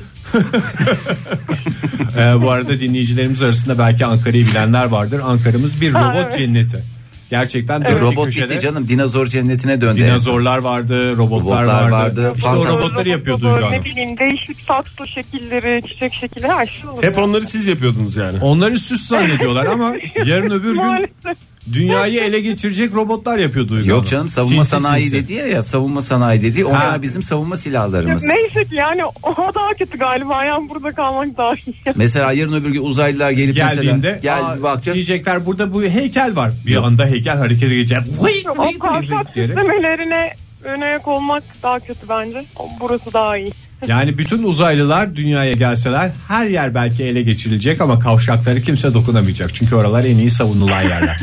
[SPEAKER 2] Ee, bu arada dinleyicilerimiz arasında belki Ankara'yı bilenler vardır. Ankara'mız bir
[SPEAKER 11] Ha,
[SPEAKER 2] robot
[SPEAKER 11] evet.
[SPEAKER 2] cenneti. Gerçekten dört bir
[SPEAKER 4] Robot
[SPEAKER 2] köşede
[SPEAKER 4] gitti canım dinozor cennetine döndü.
[SPEAKER 2] Dinozorlar vardı, robotlar,
[SPEAKER 4] Robotlar
[SPEAKER 2] vardı.
[SPEAKER 4] vardı,
[SPEAKER 2] İşte o
[SPEAKER 4] fantastik-
[SPEAKER 2] robotları yapıyor Duygu
[SPEAKER 11] Robotları,
[SPEAKER 2] Hanım.
[SPEAKER 11] Ne bileyim değişik saksı şekilleri çiçek şekilleri her şey olur.
[SPEAKER 3] Hep onları siz yapıyordunuz yani.
[SPEAKER 2] Onları süs zannediyorlar ama yarın öbür gün
[SPEAKER 11] Maalesef.
[SPEAKER 2] dünyayı ele geçirecek robotlar yapıyor Duygu
[SPEAKER 4] Yok
[SPEAKER 2] Hanım.
[SPEAKER 4] canım savunma
[SPEAKER 2] Sinsi
[SPEAKER 4] sanayi
[SPEAKER 2] sinsi.
[SPEAKER 4] dedi ya, ya savunma sanayi dedi. Onlar
[SPEAKER 2] Ha.
[SPEAKER 4] bizim savunma silahlarımız.
[SPEAKER 11] Neyse ki yani o daha kötü galiba yani burada kalmak daha iyi.
[SPEAKER 4] Mesela yarın öbür gün uzaylılar gelip
[SPEAKER 2] Geldiğinde
[SPEAKER 4] mesela gel
[SPEAKER 2] aa,
[SPEAKER 4] bakacak.
[SPEAKER 2] diyecekler burada bu heykel var. Bir anda heykel harekete geçecek. Vıy, vıy,
[SPEAKER 11] O kavşak
[SPEAKER 2] vıy diyerek.
[SPEAKER 11] süslemelerine önayak olmak daha kötü bence. O- Burası daha iyi.
[SPEAKER 2] Yani bütün uzaylılar dünyaya gelseler her yer belki ele geçirilecek ama kavşakları kimse dokunamayacak. Çünkü oralar en iyi savunulan
[SPEAKER 11] [LAUGHS]
[SPEAKER 2] yerler.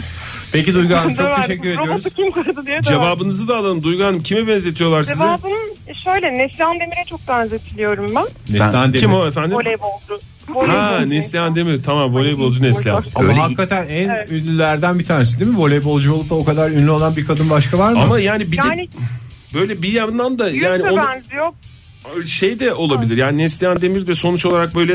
[SPEAKER 2] Peki Duygu Hanım çok
[SPEAKER 11] Döverdim.
[SPEAKER 2] teşekkür
[SPEAKER 11] [LAUGHS]
[SPEAKER 2] ediyoruz.
[SPEAKER 11] Robotu kim kırdı diye döverdim.
[SPEAKER 3] Cevabınızı da alalım Duygu Hanım. Kimi benzetiyorlar size?
[SPEAKER 11] Cevabım şöyle Neslihan Demir'e çok benzetiliyorum ben.
[SPEAKER 2] Neslihan Demir.
[SPEAKER 3] Kim o efendim?
[SPEAKER 11] Voleybolcu.
[SPEAKER 3] Ha
[SPEAKER 11] Voleybolcu.
[SPEAKER 3] Neslihan Demir. Tamam voleybolcu Neslihan.
[SPEAKER 2] Ama
[SPEAKER 4] Öyle-
[SPEAKER 2] hakikaten en
[SPEAKER 11] Evet.
[SPEAKER 2] ünlülerden bir tanesi değil mi? Voleybolcu olup da o kadar ünlü olan bir kadın başka var mı?
[SPEAKER 3] Ama yani bir de
[SPEAKER 11] Yani
[SPEAKER 3] böyle bir yandan da
[SPEAKER 11] yüz
[SPEAKER 3] yani
[SPEAKER 11] mü
[SPEAKER 3] onu-
[SPEAKER 11] benziyor?
[SPEAKER 3] şey de olabilir. Yani Neslihan Demir de sonuç olarak böyle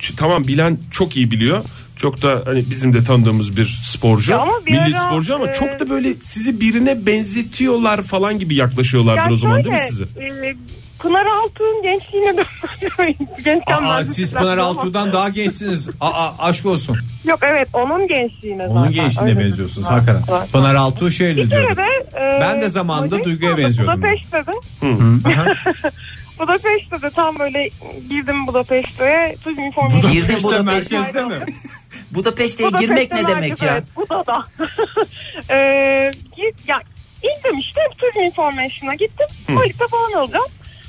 [SPEAKER 3] ç- tamam bilen çok iyi biliyor. Çok da hani bizim de tanıdığımız bir sporcu.
[SPEAKER 11] Ya ama bir
[SPEAKER 3] milli
[SPEAKER 11] ara,
[SPEAKER 3] sporcu ama
[SPEAKER 11] e,
[SPEAKER 3] çok da böyle sizi birine benzetiyorlar falan gibi yaklaşıyorlardır
[SPEAKER 11] Yani
[SPEAKER 3] o zaman değil mi
[SPEAKER 11] şöyle,
[SPEAKER 3] sizi?
[SPEAKER 11] e, Pınar Altuğ'un gençliğine [LAUGHS] de gençken
[SPEAKER 2] Aa,
[SPEAKER 11] benzettiler.
[SPEAKER 2] siz Pınar Altuğ'dan daha gençsiniz. Aa, aşk olsun.
[SPEAKER 11] Yok evet onun gençliğine
[SPEAKER 2] Onun
[SPEAKER 11] zaten.
[SPEAKER 2] gençliğine
[SPEAKER 11] Öyle
[SPEAKER 2] benziyorsunuz
[SPEAKER 11] bir-
[SPEAKER 2] hakikaten.
[SPEAKER 11] Var.
[SPEAKER 2] Pınar Altuğ şeyle
[SPEAKER 11] Bir
[SPEAKER 2] diyorum.
[SPEAKER 11] kere de e,
[SPEAKER 2] Ben de zamanında
[SPEAKER 11] Macaristan'da,
[SPEAKER 2] Duygu'ya benziyordum.
[SPEAKER 11] Budapeşte de. [LAUGHS] Budapeşte de tam böyle girdim Budapeşte'ye.
[SPEAKER 2] [LAUGHS]
[SPEAKER 11] Tüm informasyon.
[SPEAKER 4] Girdin
[SPEAKER 2] İşte
[SPEAKER 4] Budapeşte.
[SPEAKER 11] şey
[SPEAKER 2] merkezde mi?
[SPEAKER 4] Budapeşte'ye Ee, girmek ne demek ya?
[SPEAKER 11] Bu da [LAUGHS] da. Ee, git, ya, indim işte Tourism Information'a gittim. Tuvalete falan alacağım.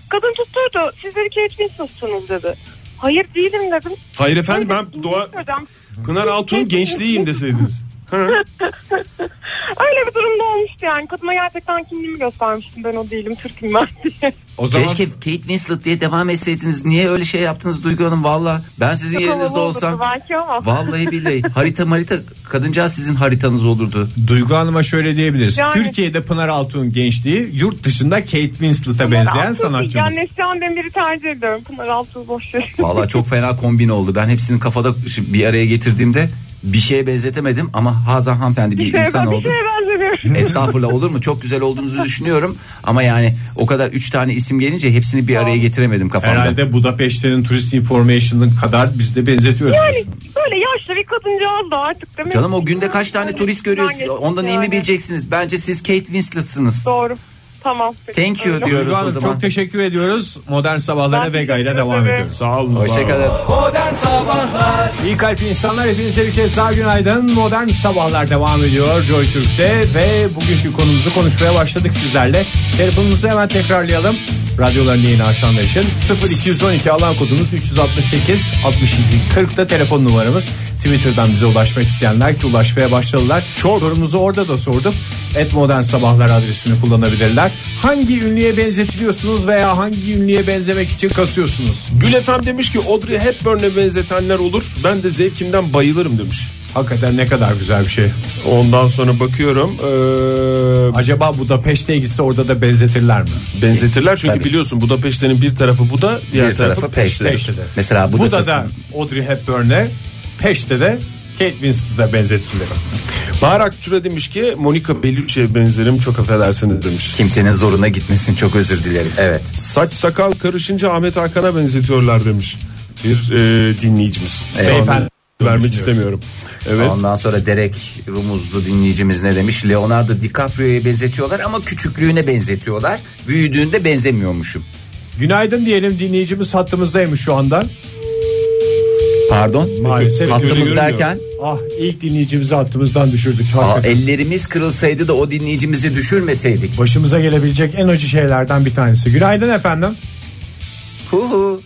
[SPEAKER 11] Kadın tutturdu. Siz dedi ki etkinsizsiniz dedi. Hayır değilim dedim.
[SPEAKER 3] Hayır efendim
[SPEAKER 11] Öyle
[SPEAKER 3] ben
[SPEAKER 11] bir
[SPEAKER 3] Doğa
[SPEAKER 11] hocam.
[SPEAKER 3] Pınar Altuğ'un gençliğiyim deseydiniz.
[SPEAKER 11] Öyle bir durumda olmuştu yani. Kadına gerçekten kimliğimi göstermiştim. Ben o değilim. Türk'üm ben [LAUGHS] diye.
[SPEAKER 2] O zaman
[SPEAKER 4] Keşke Kate Winslet diye devam etseydiniz. Niye öyle şey yaptınız Duygu Hanım? Valla ben sizin
[SPEAKER 11] Çok
[SPEAKER 4] yerinizde
[SPEAKER 11] havalı olurdu
[SPEAKER 4] olsam.
[SPEAKER 11] Belki ama.
[SPEAKER 4] Vallahi billahi harita marita kadıncağız sizin haritanız olurdu.
[SPEAKER 2] Duygu Hanım'a şöyle diyebiliriz.
[SPEAKER 11] Yani-
[SPEAKER 2] Türkiye'de Pınar Altuğ'un gençliği yurt dışında Kate Winslet'a benzeyen sanatçımız.
[SPEAKER 11] Yani Neslihan Demir'i tercih ediyorum. Pınar Altuğ boş ver.
[SPEAKER 4] Valla çok fena kombin oldu. Ben hepsini kafada şu- bir araya getirdiğimde bir şeye benzetemedim ama Hazan hanımefendi bir,
[SPEAKER 11] Şey,
[SPEAKER 4] insan
[SPEAKER 11] bir
[SPEAKER 4] oldu.
[SPEAKER 11] şeye benzemiyorum.
[SPEAKER 4] Estağfurullah olur mu? Çok güzel olduğunuzu düşünüyorum ama yani o kadar üç tane isim gelince hepsini bir araya getiremedim kafamda.
[SPEAKER 2] Herhalde Budapeşte'nin turist information'ın kadar biz de benzetiyoruz.
[SPEAKER 11] Yani böyle yaşlı bir kadıncağız da artık değil mi?
[SPEAKER 4] Canım o günde kaç tane
[SPEAKER 11] Yani
[SPEAKER 4] turist görüyoruz?
[SPEAKER 11] geçti
[SPEAKER 4] Ondan iyi mi
[SPEAKER 11] yani.
[SPEAKER 4] bileceksiniz? Bence siz Kate Winslet'sınız.
[SPEAKER 11] Doğru. Tamam. peki.
[SPEAKER 4] Thank you
[SPEAKER 11] Öyle.
[SPEAKER 4] diyor.
[SPEAKER 2] Duygu Hanım
[SPEAKER 4] o zaman.
[SPEAKER 2] çok teşekkür ediyoruz. Modern Sabahlara
[SPEAKER 11] Ben
[SPEAKER 2] Vega ile
[SPEAKER 11] teşekkür
[SPEAKER 2] devam
[SPEAKER 11] ederim.
[SPEAKER 2] ediyoruz.
[SPEAKER 3] Sağ olun. var olun.
[SPEAKER 4] Hoşçakalın.
[SPEAKER 5] Modern Sabahlar
[SPEAKER 2] İyi kalp insanlar hepinize bir kez daha günaydın. Modern Sabahlar devam ediyor Joy Türk'te ve bugünkü konumuzu konuşmaya başladık sizlerle. Telefonumuzu hemen tekrarlayalım. Radyolarını yeni açanlar için 0212 alan kodumuz 368 62 40 da telefon numaramız. Twitter'dan bize ulaşmak isteyenler ki ulaşmaya başladılar. Sorumuzu orada da sorduk. Et Modern Sabahlar adresini kullanabilirler. Hangi ünlüye benzetiliyorsunuz veya hangi ünlüye benzemek için kasıyorsunuz?
[SPEAKER 3] Gül Efem demiş ki Audrey Hepburn'e benzetenler olur. Ben de zevkimden bayılırım demiş.
[SPEAKER 2] Hakikaten ne kadar güzel bir şey.
[SPEAKER 3] Ondan sonra bakıyorum. eee,
[SPEAKER 2] Acaba bu da peşte gitse orada da benzetirler mi?
[SPEAKER 3] benzetirler çünkü
[SPEAKER 4] Tabii.
[SPEAKER 3] biliyorsun Budapeşte'nin bir tarafı bu da diğer
[SPEAKER 4] Bir
[SPEAKER 3] tarafı,
[SPEAKER 4] tarafı peşte.
[SPEAKER 2] Peşte'de.
[SPEAKER 4] Mesela
[SPEAKER 2] Bu
[SPEAKER 4] bu
[SPEAKER 2] da da Audrey Hepburn'e, Peşte de Kate Winslet'e benzetilir.
[SPEAKER 3] Barak Çura demiş ki Monica Bellucci'ye benzerim çok affedersiniz demiş.
[SPEAKER 4] kimsenin zoruna gitmesin çok özür dilerim. Evet.
[SPEAKER 3] Saç sakal karışınca Ahmet Hakan'a benzetiyorlar demiş. Bir eee, dinleyicimiz. Şu anda
[SPEAKER 2] Beyefendi.
[SPEAKER 3] Vermek istemiyorum. Evet.
[SPEAKER 4] Ondan sonra Derek Rumuzlu dinleyicimiz ne demiş? Leonardo DiCaprio'ya benzetiyorlar ama küçüklüğüne benzetiyorlar. Büyüdüğünde benzemiyormuşum.
[SPEAKER 2] Günaydın diyelim dinleyicimiz hattımızdaymış şu anda.
[SPEAKER 4] Pardon.
[SPEAKER 2] Maalesef
[SPEAKER 4] Hattımız
[SPEAKER 2] görünüyor.
[SPEAKER 4] derken
[SPEAKER 2] Ah ilk dinleyicimizi hattımızdan düşürdük.
[SPEAKER 4] aa, e-
[SPEAKER 2] Hakikaten.
[SPEAKER 4] ellerimiz kırılsaydı da o dinleyicimizi düşürmeseydik.
[SPEAKER 2] Başımıza gelebilecek en acı şeylerden bir tanesi. Günaydın efendim.
[SPEAKER 4] Hu hu.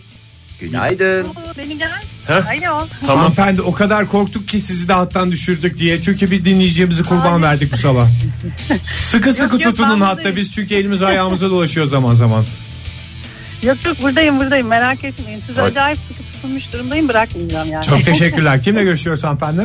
[SPEAKER 4] Günaydın.
[SPEAKER 11] Beni gel.
[SPEAKER 3] Heh.
[SPEAKER 11] Alo.
[SPEAKER 2] Tamam. Hanımefendi o kadar korktuk ki sizi de hattan düşürdük diye. Çünkü bir dinleyicimizi kurban verdik bu
[SPEAKER 11] [LAUGHS]
[SPEAKER 2] sabah. sıkı sıkı
[SPEAKER 11] yok, ben
[SPEAKER 2] tutunun hatta
[SPEAKER 11] buradayım.
[SPEAKER 2] biz çünkü elimiz ayağımıza dolaşıyor zaman zaman.
[SPEAKER 11] Yok yok buradayım buradayım merak etmeyin. Siz acayip sıkı tutulmuş durumdayım bırakmayacağım yani.
[SPEAKER 2] Çok teşekkürler. Kimle görüşüyoruz hanımefendi?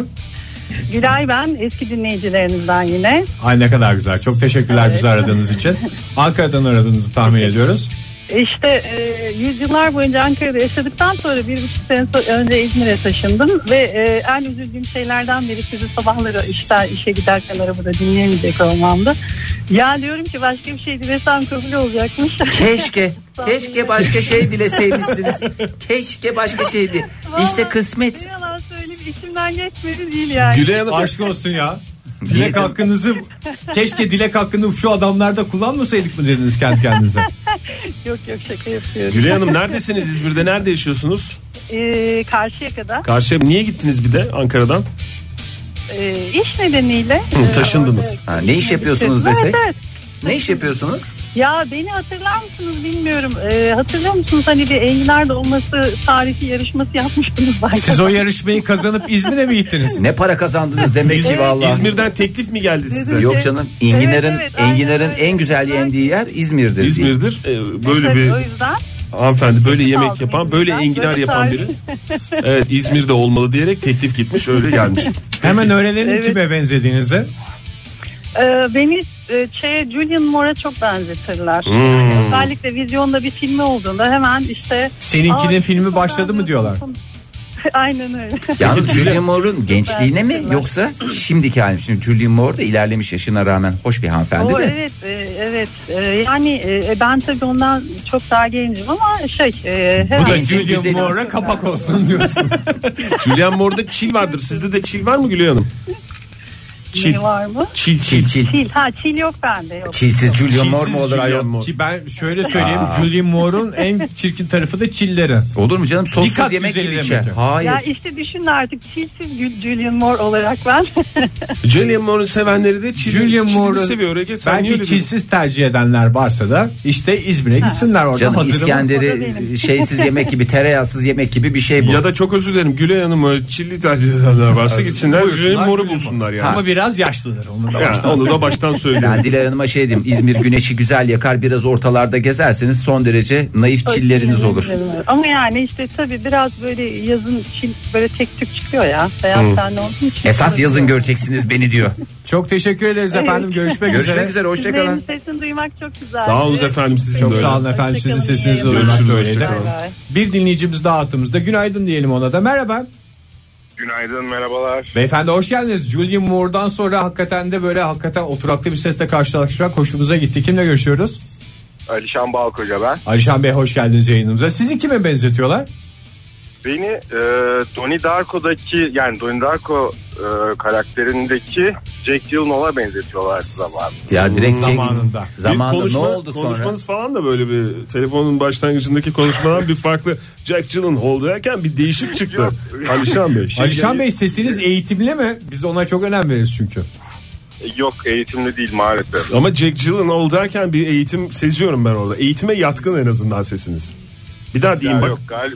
[SPEAKER 11] Gülay ben eski dinleyicilerinizden yine.
[SPEAKER 2] Ay ne kadar güzel. Çok teşekkürler bizi aradığınız için. Ankara'dan aradığınızı tahmin ediyoruz.
[SPEAKER 11] İşte e, yüzyıllar boyunca Ankara'da yaşadıktan sonra bir buçuk sene so- önce İzmir'e taşındım ve e, en üzüldüğüm şeylerden biri sizi sabahları işte işe giderken arabada dinleyemeyecek olmamdı. Ya diyorum ki başka bir şey dilesem kabul olacakmış. [LAUGHS]
[SPEAKER 4] Keşke. Keşke başka şey dileseymişsiniz. Keşke başka şeydi. İşte kısmet.
[SPEAKER 11] Ne yalan söyleyeyim içimden geçmedi değil yani.
[SPEAKER 3] Gülay Hanım
[SPEAKER 2] Aşk olsun ya. Dilek
[SPEAKER 4] Niyetim-
[SPEAKER 2] hakkınızı keşke dilek hakkını şu adamlarda kullanmasaydık mı dediniz kendi
[SPEAKER 4] [LAUGHS]
[SPEAKER 2] kendinize?
[SPEAKER 11] Yok yok şaka yapıyorum.
[SPEAKER 3] Gülay Hanım neredesiniz İzmir'de nerede yaşıyorsunuz?
[SPEAKER 11] E, karşıya kadar
[SPEAKER 3] Karşıya niye gittiniz bir de Ankara'dan?
[SPEAKER 11] e, iş nedeniyle.
[SPEAKER 3] Hı,
[SPEAKER 11] e,
[SPEAKER 3] taşındınız.
[SPEAKER 11] orada-
[SPEAKER 4] Ha, ne iş yapıyorsunuz
[SPEAKER 11] Evet,
[SPEAKER 4] desek?
[SPEAKER 11] evet.
[SPEAKER 4] Ne iş yapıyorsunuz?
[SPEAKER 11] Ya beni hatırlar mısınız bilmiyorum. Ee, hatırlıyor musunuz hani bir enginar dolması tarihi yarışması yapmıştınız belki.
[SPEAKER 2] Siz o yarışmayı kazanıp İzmir'e mi gittiniz?
[SPEAKER 4] Ne para kazandınız demek ki vallahi.
[SPEAKER 3] İzmir'den teklif mi geldi size?
[SPEAKER 11] Evet.
[SPEAKER 4] Yok canım. enginarın
[SPEAKER 11] Evet, evet,
[SPEAKER 4] enginarın
[SPEAKER 11] aynen öyle.
[SPEAKER 4] en güzel yendiği yer İzmir'dir. diye.
[SPEAKER 3] İzmir'dir. Ee, böyle
[SPEAKER 11] Tabii,
[SPEAKER 3] bir
[SPEAKER 11] [LAUGHS] O yüzden
[SPEAKER 3] hanımefendi böyle yemek
[SPEAKER 11] aldım
[SPEAKER 3] yapan,
[SPEAKER 11] İzmir'den,
[SPEAKER 3] böyle enginar
[SPEAKER 11] böyle
[SPEAKER 3] yapan
[SPEAKER 11] tarif.
[SPEAKER 3] biri. Evet İzmir'de olmalı diyerek teklif gitmiş öyle
[SPEAKER 11] [LAUGHS]
[SPEAKER 3] gelmiş.
[SPEAKER 2] Hemen öğrenelim
[SPEAKER 11] Evet.
[SPEAKER 2] kime benzediğinizi.
[SPEAKER 11] e, beni e, şeye, Julian Moore'a çok benzetirler.
[SPEAKER 3] Hmm.
[SPEAKER 11] Özellikle vizyonda bir filmi olduğunda hemen işte.
[SPEAKER 2] Seninkinin
[SPEAKER 11] "Aa,
[SPEAKER 2] filmi
[SPEAKER 11] çok
[SPEAKER 2] başladı mı diyorlar.
[SPEAKER 11] [LAUGHS] Aynen öyle.
[SPEAKER 4] Yalnız
[SPEAKER 3] Peki, Julia-
[SPEAKER 4] Julian Moore'un gençliğine mi yoksa şimdiki hali mi? Şimdi Julian Moore da ilerlemiş yaşına rağmen hoş bir hanımefendi
[SPEAKER 11] O,
[SPEAKER 4] de.
[SPEAKER 11] evet e, evet E, yani e, ben tabii ondan çok daha gencim ama şey e,
[SPEAKER 2] Bu
[SPEAKER 11] hemen
[SPEAKER 2] da
[SPEAKER 4] Gencin
[SPEAKER 2] Julian
[SPEAKER 4] güzeli.
[SPEAKER 2] Moore'a kapak olsun diyorsunuz.
[SPEAKER 3] Julian Moore'da çil vardır. Sizde de çil var mı Gülay Hanım? Çil.
[SPEAKER 11] ne var mı?
[SPEAKER 3] Çil çil.
[SPEAKER 4] Çil çil.
[SPEAKER 11] Çil ha çil yok bende yok.
[SPEAKER 4] Çilsiz Julian Moore mu
[SPEAKER 3] Çilsiz
[SPEAKER 4] olur
[SPEAKER 3] Julian
[SPEAKER 4] ayol?
[SPEAKER 3] Moore.
[SPEAKER 2] Ki ben şöyle söyleyeyim
[SPEAKER 4] Aa.
[SPEAKER 2] Julian Moore'un en çirkin tarafı da çilleri.
[SPEAKER 4] Olur mu canım? Sossuz
[SPEAKER 2] Dikkat
[SPEAKER 4] yemek
[SPEAKER 2] güzeli
[SPEAKER 4] gibi
[SPEAKER 2] demek
[SPEAKER 4] içer.
[SPEAKER 2] ki.
[SPEAKER 4] Hayır.
[SPEAKER 11] Ya işte düşünün artık çilsiz Gül- Julian Moore olarak ben.
[SPEAKER 3] Julian Moore'un sevenleri de çil.
[SPEAKER 2] Julian Moore'u
[SPEAKER 3] seviyor. Ege, sen niye
[SPEAKER 2] Belki
[SPEAKER 3] öyle diyorsun?
[SPEAKER 2] çilsiz tercih edenler varsa da işte İzmir'e gitsinler orada
[SPEAKER 4] Canım
[SPEAKER 2] hazırım.
[SPEAKER 11] O da
[SPEAKER 4] İskender'i [LAUGHS]
[SPEAKER 11] benim.
[SPEAKER 4] şeysiz yemek gibi tereyağsız yemek gibi bir şey bu.
[SPEAKER 3] Ya da çok özür dilerim Gülay Hanım'ı çilli tercih edenler varsa gitsinler
[SPEAKER 2] Buyursunlar,
[SPEAKER 3] Julian Moore'u
[SPEAKER 2] Julian
[SPEAKER 3] bulsunlar yani.
[SPEAKER 2] Ama biraz yaşlıdır onu da.
[SPEAKER 3] Ya,
[SPEAKER 2] baştan
[SPEAKER 3] onu da
[SPEAKER 2] söyleyeyim.
[SPEAKER 3] baştan söylüyorum.
[SPEAKER 4] Ben Dilara Hanım'a şey diyeyim İzmir güneşi güzel yakar biraz ortalarda gezerseniz son derece naif çilleriniz olur.
[SPEAKER 11] Ama yani işte tabii biraz böyle yazın çil böyle tek tük çıkıyor ya. Beyaz tenli olduğum için.
[SPEAKER 4] Esas yazın göreceksiniz beni diyor.
[SPEAKER 2] Çok teşekkür ederiz efendim. Görüşmek üzere.
[SPEAKER 4] Görüşmek üzere hoşçakalın.
[SPEAKER 11] Sizlerin sesini duymak çok güzel.
[SPEAKER 3] Sağ olun efendim sizin
[SPEAKER 2] Çok
[SPEAKER 3] de
[SPEAKER 2] sağ
[SPEAKER 3] öyle.
[SPEAKER 2] olun efendim sizin
[SPEAKER 11] Hoşçakalın,
[SPEAKER 2] sesinizi
[SPEAKER 11] iyi
[SPEAKER 2] duymak
[SPEAKER 3] yayınlar.
[SPEAKER 2] öyleydi.
[SPEAKER 3] Hoşçakalın.
[SPEAKER 11] Bay bay.
[SPEAKER 2] Bir dinleyicimiz daha hattımızda. Günaydın diyelim ona da. Merhaba.
[SPEAKER 12] Günaydın merhabalar.
[SPEAKER 2] Beyefendi hoş geldiniz. Julian Moore'dan sonra hakikaten de böyle hakikaten oturaklı bir sesle karşılaşmak hoşumuza gitti. Kimle görüşüyoruz?
[SPEAKER 12] Alişan Balkoca ben.
[SPEAKER 2] Alişan Bey hoş geldiniz yayınımıza. Sizi kime benzetiyorlar?
[SPEAKER 12] Beni e, Donnie Darko'daki yani Donnie Darko e, karakterindeki Jack Gyllenhaal'a benzetiyorlar zaman.
[SPEAKER 4] Ya direkt
[SPEAKER 2] Zamanında.
[SPEAKER 4] zamanında. Zamanında
[SPEAKER 3] Bir konuşma-
[SPEAKER 4] ne oldu sonra?
[SPEAKER 3] Konuşmanız falan da böyle bir telefonun başlangıcındaki konuşmadan bir farklı Jack Gyllenhaal derken bir değişik çıktı.
[SPEAKER 12] Yok.
[SPEAKER 2] [LAUGHS]
[SPEAKER 3] Alişan Bey.
[SPEAKER 2] Alişan Bey sesiniz eğitimli mi? Biz ona çok önem veririz çünkü.
[SPEAKER 12] E, Yok eğitimli değil maalesef.
[SPEAKER 3] Ama Jack Gyllenhaal derken bir eğitim seziyorum ben orada. Eğitime yatkın en azından sesiniz. Bir daha diyeyim
[SPEAKER 12] Ya
[SPEAKER 3] bak.
[SPEAKER 12] Yok [LAUGHS] galiba.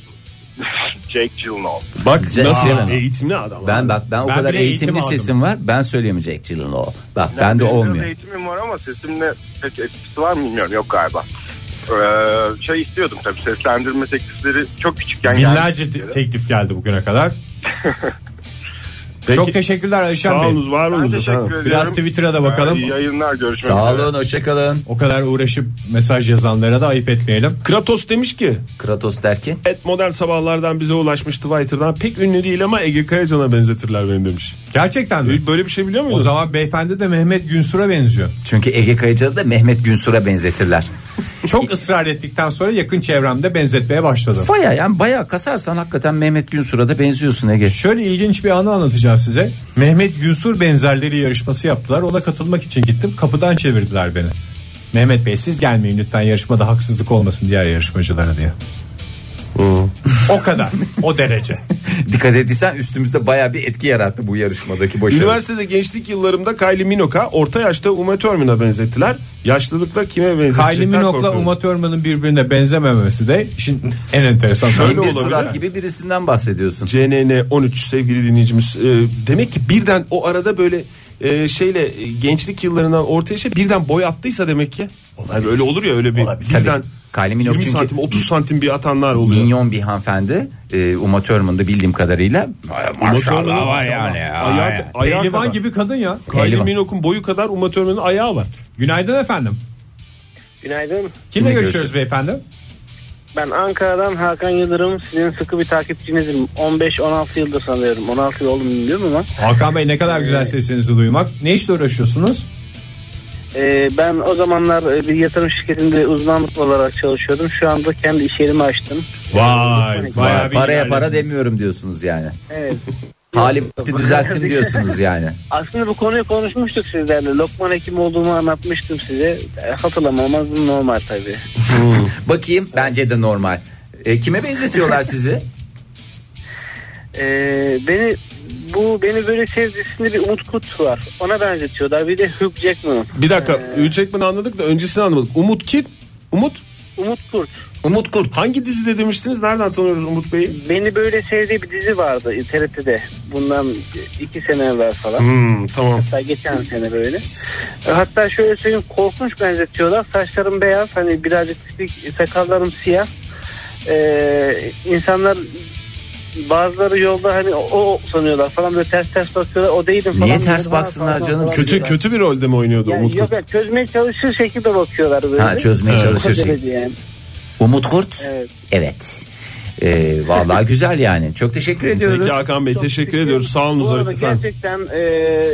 [SPEAKER 12] Jake Gyllenhaal.
[SPEAKER 3] Bak
[SPEAKER 4] Jack
[SPEAKER 3] nasıl
[SPEAKER 4] Gyllenhaal.
[SPEAKER 3] eğitimli adam.
[SPEAKER 4] Ben bak ben o
[SPEAKER 2] Ben
[SPEAKER 4] kadar
[SPEAKER 2] bile eğitim
[SPEAKER 4] eğitimli
[SPEAKER 2] aldım.
[SPEAKER 4] sesim var. Ben söyleyemeyecek o. Bak
[SPEAKER 12] Yani
[SPEAKER 4] bende
[SPEAKER 12] benim biraz
[SPEAKER 4] olmuyor.
[SPEAKER 12] eğitimim var ama sesimle pek etkisi var mı bilmiyorum. Yok galiba. Ee, şey istiyordum tabii seslendirme teklifleri çok küçükken geldi.
[SPEAKER 2] Binlerce te- teklif geldi bugüne kadar.
[SPEAKER 3] Peki.
[SPEAKER 2] Çok teşekkürler Ayşen
[SPEAKER 3] Sağ
[SPEAKER 2] Bey.
[SPEAKER 3] olunuz, var
[SPEAKER 12] Ben şey-
[SPEAKER 3] olunuz.
[SPEAKER 12] teşekkür
[SPEAKER 3] efendim.
[SPEAKER 12] ediyorum.
[SPEAKER 2] Biraz Twitter'a da bakalım.
[SPEAKER 12] İyi yayınlar görüşmek
[SPEAKER 4] Sağ
[SPEAKER 12] üzere.
[SPEAKER 4] olun hoşçakalın.
[SPEAKER 2] O kadar uğraşıp mesaj yazanlara da ayıp etmeyelim.
[SPEAKER 3] Kratos demiş ki
[SPEAKER 4] Kratos der ki
[SPEAKER 3] et modern sabahlardan bize ulaşmış Twitter'dan pek ünlü değil ama Ege Kayacan'a benzetirler beni demiş.
[SPEAKER 2] Gerçekten mi?
[SPEAKER 3] Böyle bir şey biliyor muydun?
[SPEAKER 2] O zaman beyefendi de Mehmet Günsur'a benziyor.
[SPEAKER 4] çünkü Ege Kayıcı'da da Mehmet Günsur'a benzetirler.
[SPEAKER 2] Çok ısrar ettikten sonra yakın çevremde benzetmeye başladım.
[SPEAKER 4] Baya yani bayağı kasarsan hakikaten Mehmet Günsur'a da
[SPEAKER 2] [LAUGHS]
[SPEAKER 4] benziyorsun Ege.
[SPEAKER 2] Şöyle ilginç bir anı anlatacağım size. Mehmet Günsur benzerleri yarışması yaptılar. Ona katılmak için gittim. Kapıdan çevirdiler beni. Mehmet Bey siz gelmeyin lütfen yarışmada haksızlık olmasın diğer yarışmacılara diye. o kadar. O
[SPEAKER 3] [LAUGHS]
[SPEAKER 2] derece.
[SPEAKER 4] Dikkat ettiysen üstümüzde bayağı bir etki yarattı bu yarışmadaki
[SPEAKER 12] şey-
[SPEAKER 4] başarı.
[SPEAKER 3] Üniversitede gençlik yıllarımda Kylie Minogue'a orta yaşta Uma Thurman'a benzettiler. Yaşlılıkta kime benzetecekler
[SPEAKER 2] Kylie Minogue'la
[SPEAKER 3] korkuyorum.
[SPEAKER 2] Uma Thurman'ın birbirine benzememesi de işin en enteresan.
[SPEAKER 3] Şöyle
[SPEAKER 4] Şöyle bir
[SPEAKER 3] olabilir.
[SPEAKER 4] surat gibi birisinden bahsediyorsun.
[SPEAKER 3] CNN 13 sevgili dinleyicimiz. Ee, demek ki birden o arada böyle e, şeyle e, gençlik yıllarından orta yaşa birden boy attıysa demek ki. Hani böyle olur ya öyle bir birden
[SPEAKER 4] Tabii. Kylie Minogue
[SPEAKER 3] 20
[SPEAKER 4] çünkü-
[SPEAKER 3] santim 30 santim bir atanlar oluyor.
[SPEAKER 4] Minyon bir hanımefendi e, Uma Thurman'da bildiğim kadarıyla
[SPEAKER 3] Uma
[SPEAKER 4] maşallah var
[SPEAKER 3] Thurman'ın
[SPEAKER 4] yani.
[SPEAKER 3] Ayağı, ayağı
[SPEAKER 2] Pehlivan
[SPEAKER 3] kadar.
[SPEAKER 2] gibi kadın ya.
[SPEAKER 3] Kylie
[SPEAKER 4] Pehlivan.
[SPEAKER 3] Minogue'un boyu kadar Uma Thurman'ın ayağı var.
[SPEAKER 2] Günaydın efendim.
[SPEAKER 9] Günaydın.
[SPEAKER 2] Kimle
[SPEAKER 4] Kimle
[SPEAKER 2] görüşüyoruz beyefendi?
[SPEAKER 9] Ben Ankara'dan Hakan Yıldırım. Sizin sıkı bir takipçinizim. 15-16 yıldır sanıyorum. 16 yıl oldum bilmiyorum ama.
[SPEAKER 2] Hakan Bey ne kadar güzel sesinizi duymak. Ne işle uğraşıyorsunuz?
[SPEAKER 9] Ee, ben o zamanlar e, bir yatırım şirketinde uzmanlık olarak çalışıyordum. Şu anda kendi iş yerimi açtım.
[SPEAKER 2] Vay
[SPEAKER 4] Paraya para demiyorum diyorsunuz yani.
[SPEAKER 10] [LAUGHS]
[SPEAKER 9] Evet.
[SPEAKER 4] Halim düzelttim diyorsunuz yani.
[SPEAKER 9] Aslında bu konuyu konuşmuştuk sizlerle. Lokman hekim olduğumu anlatmıştım size. E, Hatırlamamaz mı? normal tabii.
[SPEAKER 4] Bakayım bence de normal. E, kime benzetiyorlar sizi?
[SPEAKER 9] Ee, beni bu beni böyle sevdisinde bir Umut Kut var. Ona benzetiyorlar. Bir de Hugh Jackman.
[SPEAKER 3] Bir dakika.
[SPEAKER 9] Ee.
[SPEAKER 3] Hugh Jackman'ı anladık da öncesini anlamadık. Umut kim? Umut
[SPEAKER 9] Umut Kurt.
[SPEAKER 4] Umut Kurt.
[SPEAKER 3] hangi dizide demiştiniz? Nereden tanıyoruz Umut Bey'i?
[SPEAKER 9] Beni böyle sevdiği bir dizi vardı TRT'de. Bundan iki sene evvel falan.
[SPEAKER 3] Hmm, tamam.
[SPEAKER 9] Hatta geçen sene böyle. E, Hatta şöyle söyleyeyim korkunç benzetiyorlar. Saçlarım beyaz hani birazcık tipik sakallarım siyah. Ee, insanlar bazıları yolda hani o, o sanıyorlar falan böyle ters ters bakıyorlar o değilim falan.
[SPEAKER 4] Niye ters
[SPEAKER 9] Böyle bana
[SPEAKER 4] baksınlar
[SPEAKER 9] falan
[SPEAKER 4] canım?
[SPEAKER 9] falan
[SPEAKER 3] Kötü
[SPEAKER 9] diyorlar.
[SPEAKER 3] kötü bir rolde mi oynuyordu
[SPEAKER 9] Yani
[SPEAKER 3] Umut
[SPEAKER 9] yok,
[SPEAKER 3] Kurt?
[SPEAKER 9] yani çözmeye çalışır şekilde bakıyorlar böyle.
[SPEAKER 4] Ha, çözmeye
[SPEAKER 9] O
[SPEAKER 4] çalışır
[SPEAKER 9] derece yani.
[SPEAKER 4] Umut Kurt.
[SPEAKER 9] Evet.
[SPEAKER 4] Evet. E, vallahi güzel yani. Çok teşekkür ediyoruz.
[SPEAKER 3] Peki Hakan Bey teşekkür
[SPEAKER 9] Çünkü
[SPEAKER 3] ediyoruz. Sağ
[SPEAKER 9] Bu
[SPEAKER 3] olun
[SPEAKER 9] arada
[SPEAKER 3] efendim.
[SPEAKER 9] gerçekten e,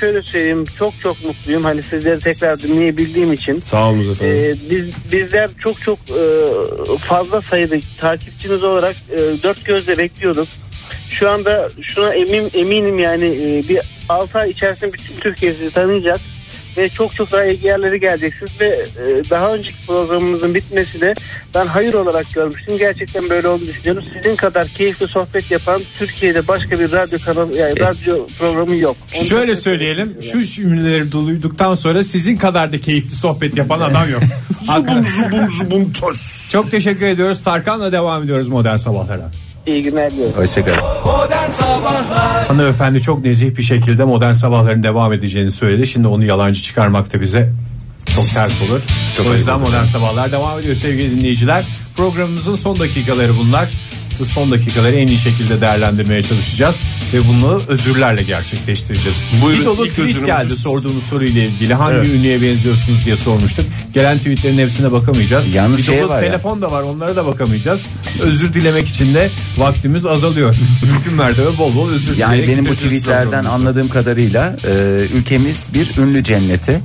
[SPEAKER 9] şöyle söyleyeyim çok çok mutluyum. Hani sizleri tekrar dinleyebildiğim için.
[SPEAKER 3] Sağ olun efendim.
[SPEAKER 9] E, biz bizler çok çok e, fazla sayıda takipçiniz olarak e, dört gözle bekliyorduk. Şu anda şuna emin eminim yani e, bir 6 ay içerisinde bütün Türkiye sizi tanıyacak ve çok çok daha iyi yerlere geleceksiniz ve e, daha önceki programımızın bitmesi de ben hayır olarak görmüştüm. Gerçekten böyle olduğunu düşünüyorum. Sizin kadar keyifli sohbet yapan Türkiye'de başka bir radyo kanalı yani
[SPEAKER 4] Es-
[SPEAKER 9] radyo programı yok. Onu
[SPEAKER 2] E, Şöyle
[SPEAKER 9] da-
[SPEAKER 2] söyleyelim. Şu cümleleri duyduktan sonra sizin kadar da keyifli sohbet yapan adam yok. Hakikaten.
[SPEAKER 3] zubum zubum toş.
[SPEAKER 2] Çok teşekkür ediyoruz. Tarkan'la devam ediyoruz modern sabahlara.
[SPEAKER 9] iyi günler diliyorum.
[SPEAKER 4] Hoşçakalın.
[SPEAKER 13] Modern Sabahlar
[SPEAKER 2] Hanımefendi çok nezih bir şekilde modern sabahların devam edeceğini söyledi. Şimdi onu yalancı çıkarmak da bize çok ters olur. o yüzden modern sabahlar devam ediyor sevgili dinleyiciler. Programımızın son dakikaları bunlar. Bu son dakikaları en iyi şekilde değerlendirmeye çalışacağız ve bunu özürlerle gerçekleştireceğiz.
[SPEAKER 3] Buyurun,
[SPEAKER 2] bir dolu
[SPEAKER 3] ilk
[SPEAKER 2] tweet
[SPEAKER 3] özürümüz-
[SPEAKER 2] geldi sorduğumuz soruyla ilgili hangi ünlüye benziyorsunuz diye sormuştuk. Gelen tweetlerin hepsine bakamayacağız.
[SPEAKER 4] Yalnız
[SPEAKER 2] bir
[SPEAKER 4] şey
[SPEAKER 2] dolu
[SPEAKER 4] var ya.
[SPEAKER 2] telefon da var onlara da bakamayacağız. Özür dilemek için de vaktimiz azalıyor. [LAUGHS] Mümkün mertebe bol bol özür
[SPEAKER 4] Yani
[SPEAKER 2] dileyerek
[SPEAKER 4] benim bu
[SPEAKER 2] bitireceğiz
[SPEAKER 4] tweetlerden
[SPEAKER 2] programımızı.
[SPEAKER 4] anladığım kadarıyla e, ülkemiz bir ünlü cenneti.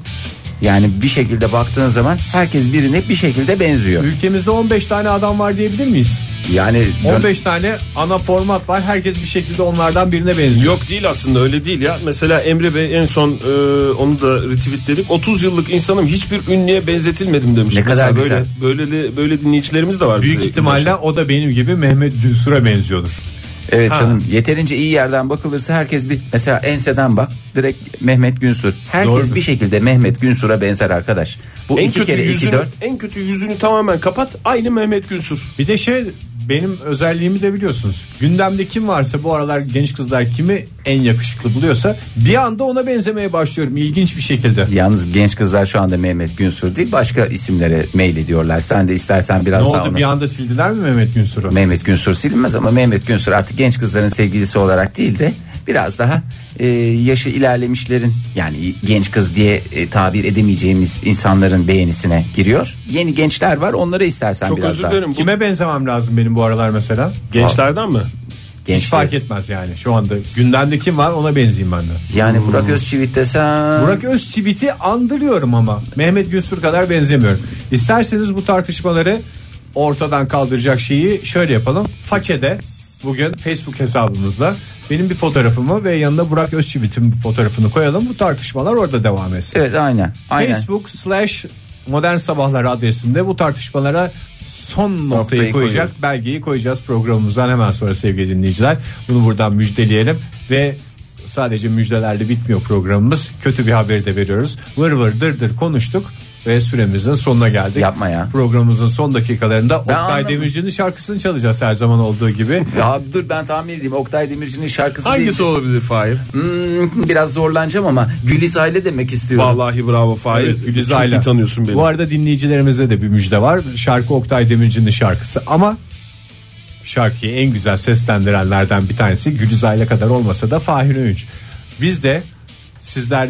[SPEAKER 4] Yani bir şekilde baktığın zaman herkes birine bir şekilde benziyor.
[SPEAKER 2] Ülkemizde 15 tane adam var diyebilir miyiz?
[SPEAKER 4] Yani
[SPEAKER 2] 15 tane ana format var. Herkes bir şekilde onlardan birine benziyor.
[SPEAKER 3] Yok değil aslında öyle değil ya. Mesela Emre Bey en son e, onu da retweetledik. 30 yıllık insanım hiçbir ünlüye benzetilmedim demiş.
[SPEAKER 4] Ne
[SPEAKER 3] Mesela
[SPEAKER 4] kadar
[SPEAKER 3] böyle,
[SPEAKER 4] güzel.
[SPEAKER 3] Böyle de, böyle dinleyicilerimiz de var.
[SPEAKER 2] Büyük
[SPEAKER 3] bize.
[SPEAKER 2] ihtimalle o da benim gibi Mehmet Dünsur'a benziyordur.
[SPEAKER 4] Evet canım yeterince iyi yerden bakılırsa herkes bir mesela enseden bak direkt Mehmet Günsür. Herkes bir şekilde Mehmet Günsur'a benzer arkadaş. Bu
[SPEAKER 3] En
[SPEAKER 4] iki
[SPEAKER 3] kötü,
[SPEAKER 4] kere iki
[SPEAKER 3] yüzünü,
[SPEAKER 4] dört.
[SPEAKER 3] en kötü yüzünü tamamen kapat. Aynı Mehmet Günsür.
[SPEAKER 2] Bir de şey benim özelliğimi de biliyorsunuz. Gündemde kim varsa bu aralar genç kızlar kimi en yakışıklı buluyorsa bir anda ona benzemeye başlıyorum ilginç bir şekilde.
[SPEAKER 4] Yalnız genç kızlar şu anda Mehmet Günsür değil başka isimlere mail ediyorlar. Sen de istersen biraz
[SPEAKER 2] Ne
[SPEAKER 4] daha
[SPEAKER 2] oldu
[SPEAKER 4] onu-
[SPEAKER 2] bir anda sildiler mi Mehmet Günsur'u?
[SPEAKER 4] Mehmet Günsür silinmez ama Mehmet Günsür artık genç kızların sevgilisi olarak değil de biraz daha e, yaşı ilerlemişlerin yani genç kız diye e, tabir edemeyeceğimiz insanların beğenisine giriyor. Yeni gençler var onlara istersen
[SPEAKER 3] Çok
[SPEAKER 4] biraz
[SPEAKER 3] özür
[SPEAKER 4] daha.
[SPEAKER 3] dilerim. Bu
[SPEAKER 2] Kime benzemem lazım benim bu aralar mesela?
[SPEAKER 3] gençlerden mi?
[SPEAKER 2] Hiç
[SPEAKER 4] Gençler-
[SPEAKER 2] fark etmez yani şu anda. Gündemde kim var ona benzeyeyim ben de.
[SPEAKER 4] Yani Burak Özçivit desem.
[SPEAKER 2] Burak Özçivit'i andırıyorum ama Mehmet Günsür kadar benzemiyorum. İsterseniz bu tartışmaları ortadan kaldıracak şeyi şöyle yapalım. Façede bugün Facebook hesabımızda benim bir fotoğrafımı ve yanında Burak Özçivit'in bir fotoğrafını koyalım. Bu tartışmalar orada devam etsin.
[SPEAKER 4] Evet aynen. aynen.
[SPEAKER 2] Facebook slash modern sabahlar adresinde bu tartışmalara son noktayı, koyacak
[SPEAKER 4] koyuyoruz.
[SPEAKER 2] belgeyi koyacağız programımızdan hemen sonra sevgili dinleyiciler. Bunu buradan müjdeleyelim ve sadece müjdelerle bitmiyor programımız. Kötü bir haberi de veriyoruz. Vır vır dır dır konuştuk ve süremizin sonuna geldik.
[SPEAKER 4] Yapma ya.
[SPEAKER 2] Programımızın son dakikalarında
[SPEAKER 4] Ben
[SPEAKER 2] Oktay
[SPEAKER 4] anlamadım.
[SPEAKER 2] Demirci'nin şarkısını çalacağız her zaman olduğu
[SPEAKER 4] [LAUGHS]
[SPEAKER 2] gibi.
[SPEAKER 4] Ya dur ben tahmin edeyim Oktay Demirci'nin şarkısı
[SPEAKER 6] Hangisi
[SPEAKER 4] değil.
[SPEAKER 6] olabilir Fahir?
[SPEAKER 4] Hmm, biraz zorlanacağım ama Gülis aile demek istiyorum.
[SPEAKER 6] Vallahi bravo Fahir.
[SPEAKER 2] Evet, Güliz
[SPEAKER 6] Çok
[SPEAKER 2] Ayla.
[SPEAKER 6] iyi tanıyorsun beni.
[SPEAKER 2] Bu arada dinleyicilerimize de bir müjde var. Şarkı Oktay Demirci'nin şarkısı ama şarkıyı en güzel seslendirenlerden bir tanesi Güliz Ayla kadar olmasa da Fahir Öğünç. Biz de sizler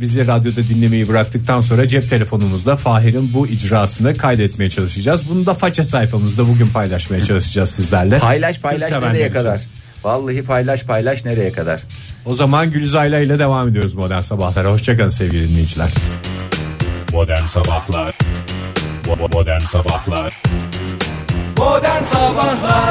[SPEAKER 2] bizi radyoda dinlemeyi bıraktıktan sonra cep telefonumuzda Fahir'in bu icrasını kaydetmeye çalışacağız. Bunu da faça sayfamızda bugün paylaşmaya çalışacağız sizlerle.
[SPEAKER 4] Paylaş paylaş
[SPEAKER 2] Tüm
[SPEAKER 4] nereye
[SPEAKER 2] sevenler
[SPEAKER 4] kadar?
[SPEAKER 2] için.
[SPEAKER 4] Vallahi paylaş paylaş nereye kadar?
[SPEAKER 2] O zaman Güliz Ayla ile devam ediyoruz modern sabahlara. Hoşçakalın sevgili dinleyiciler.
[SPEAKER 1] Modern Sabahlar Bo- bo- Modern Sabahlar
[SPEAKER 5] Modern Sabahlar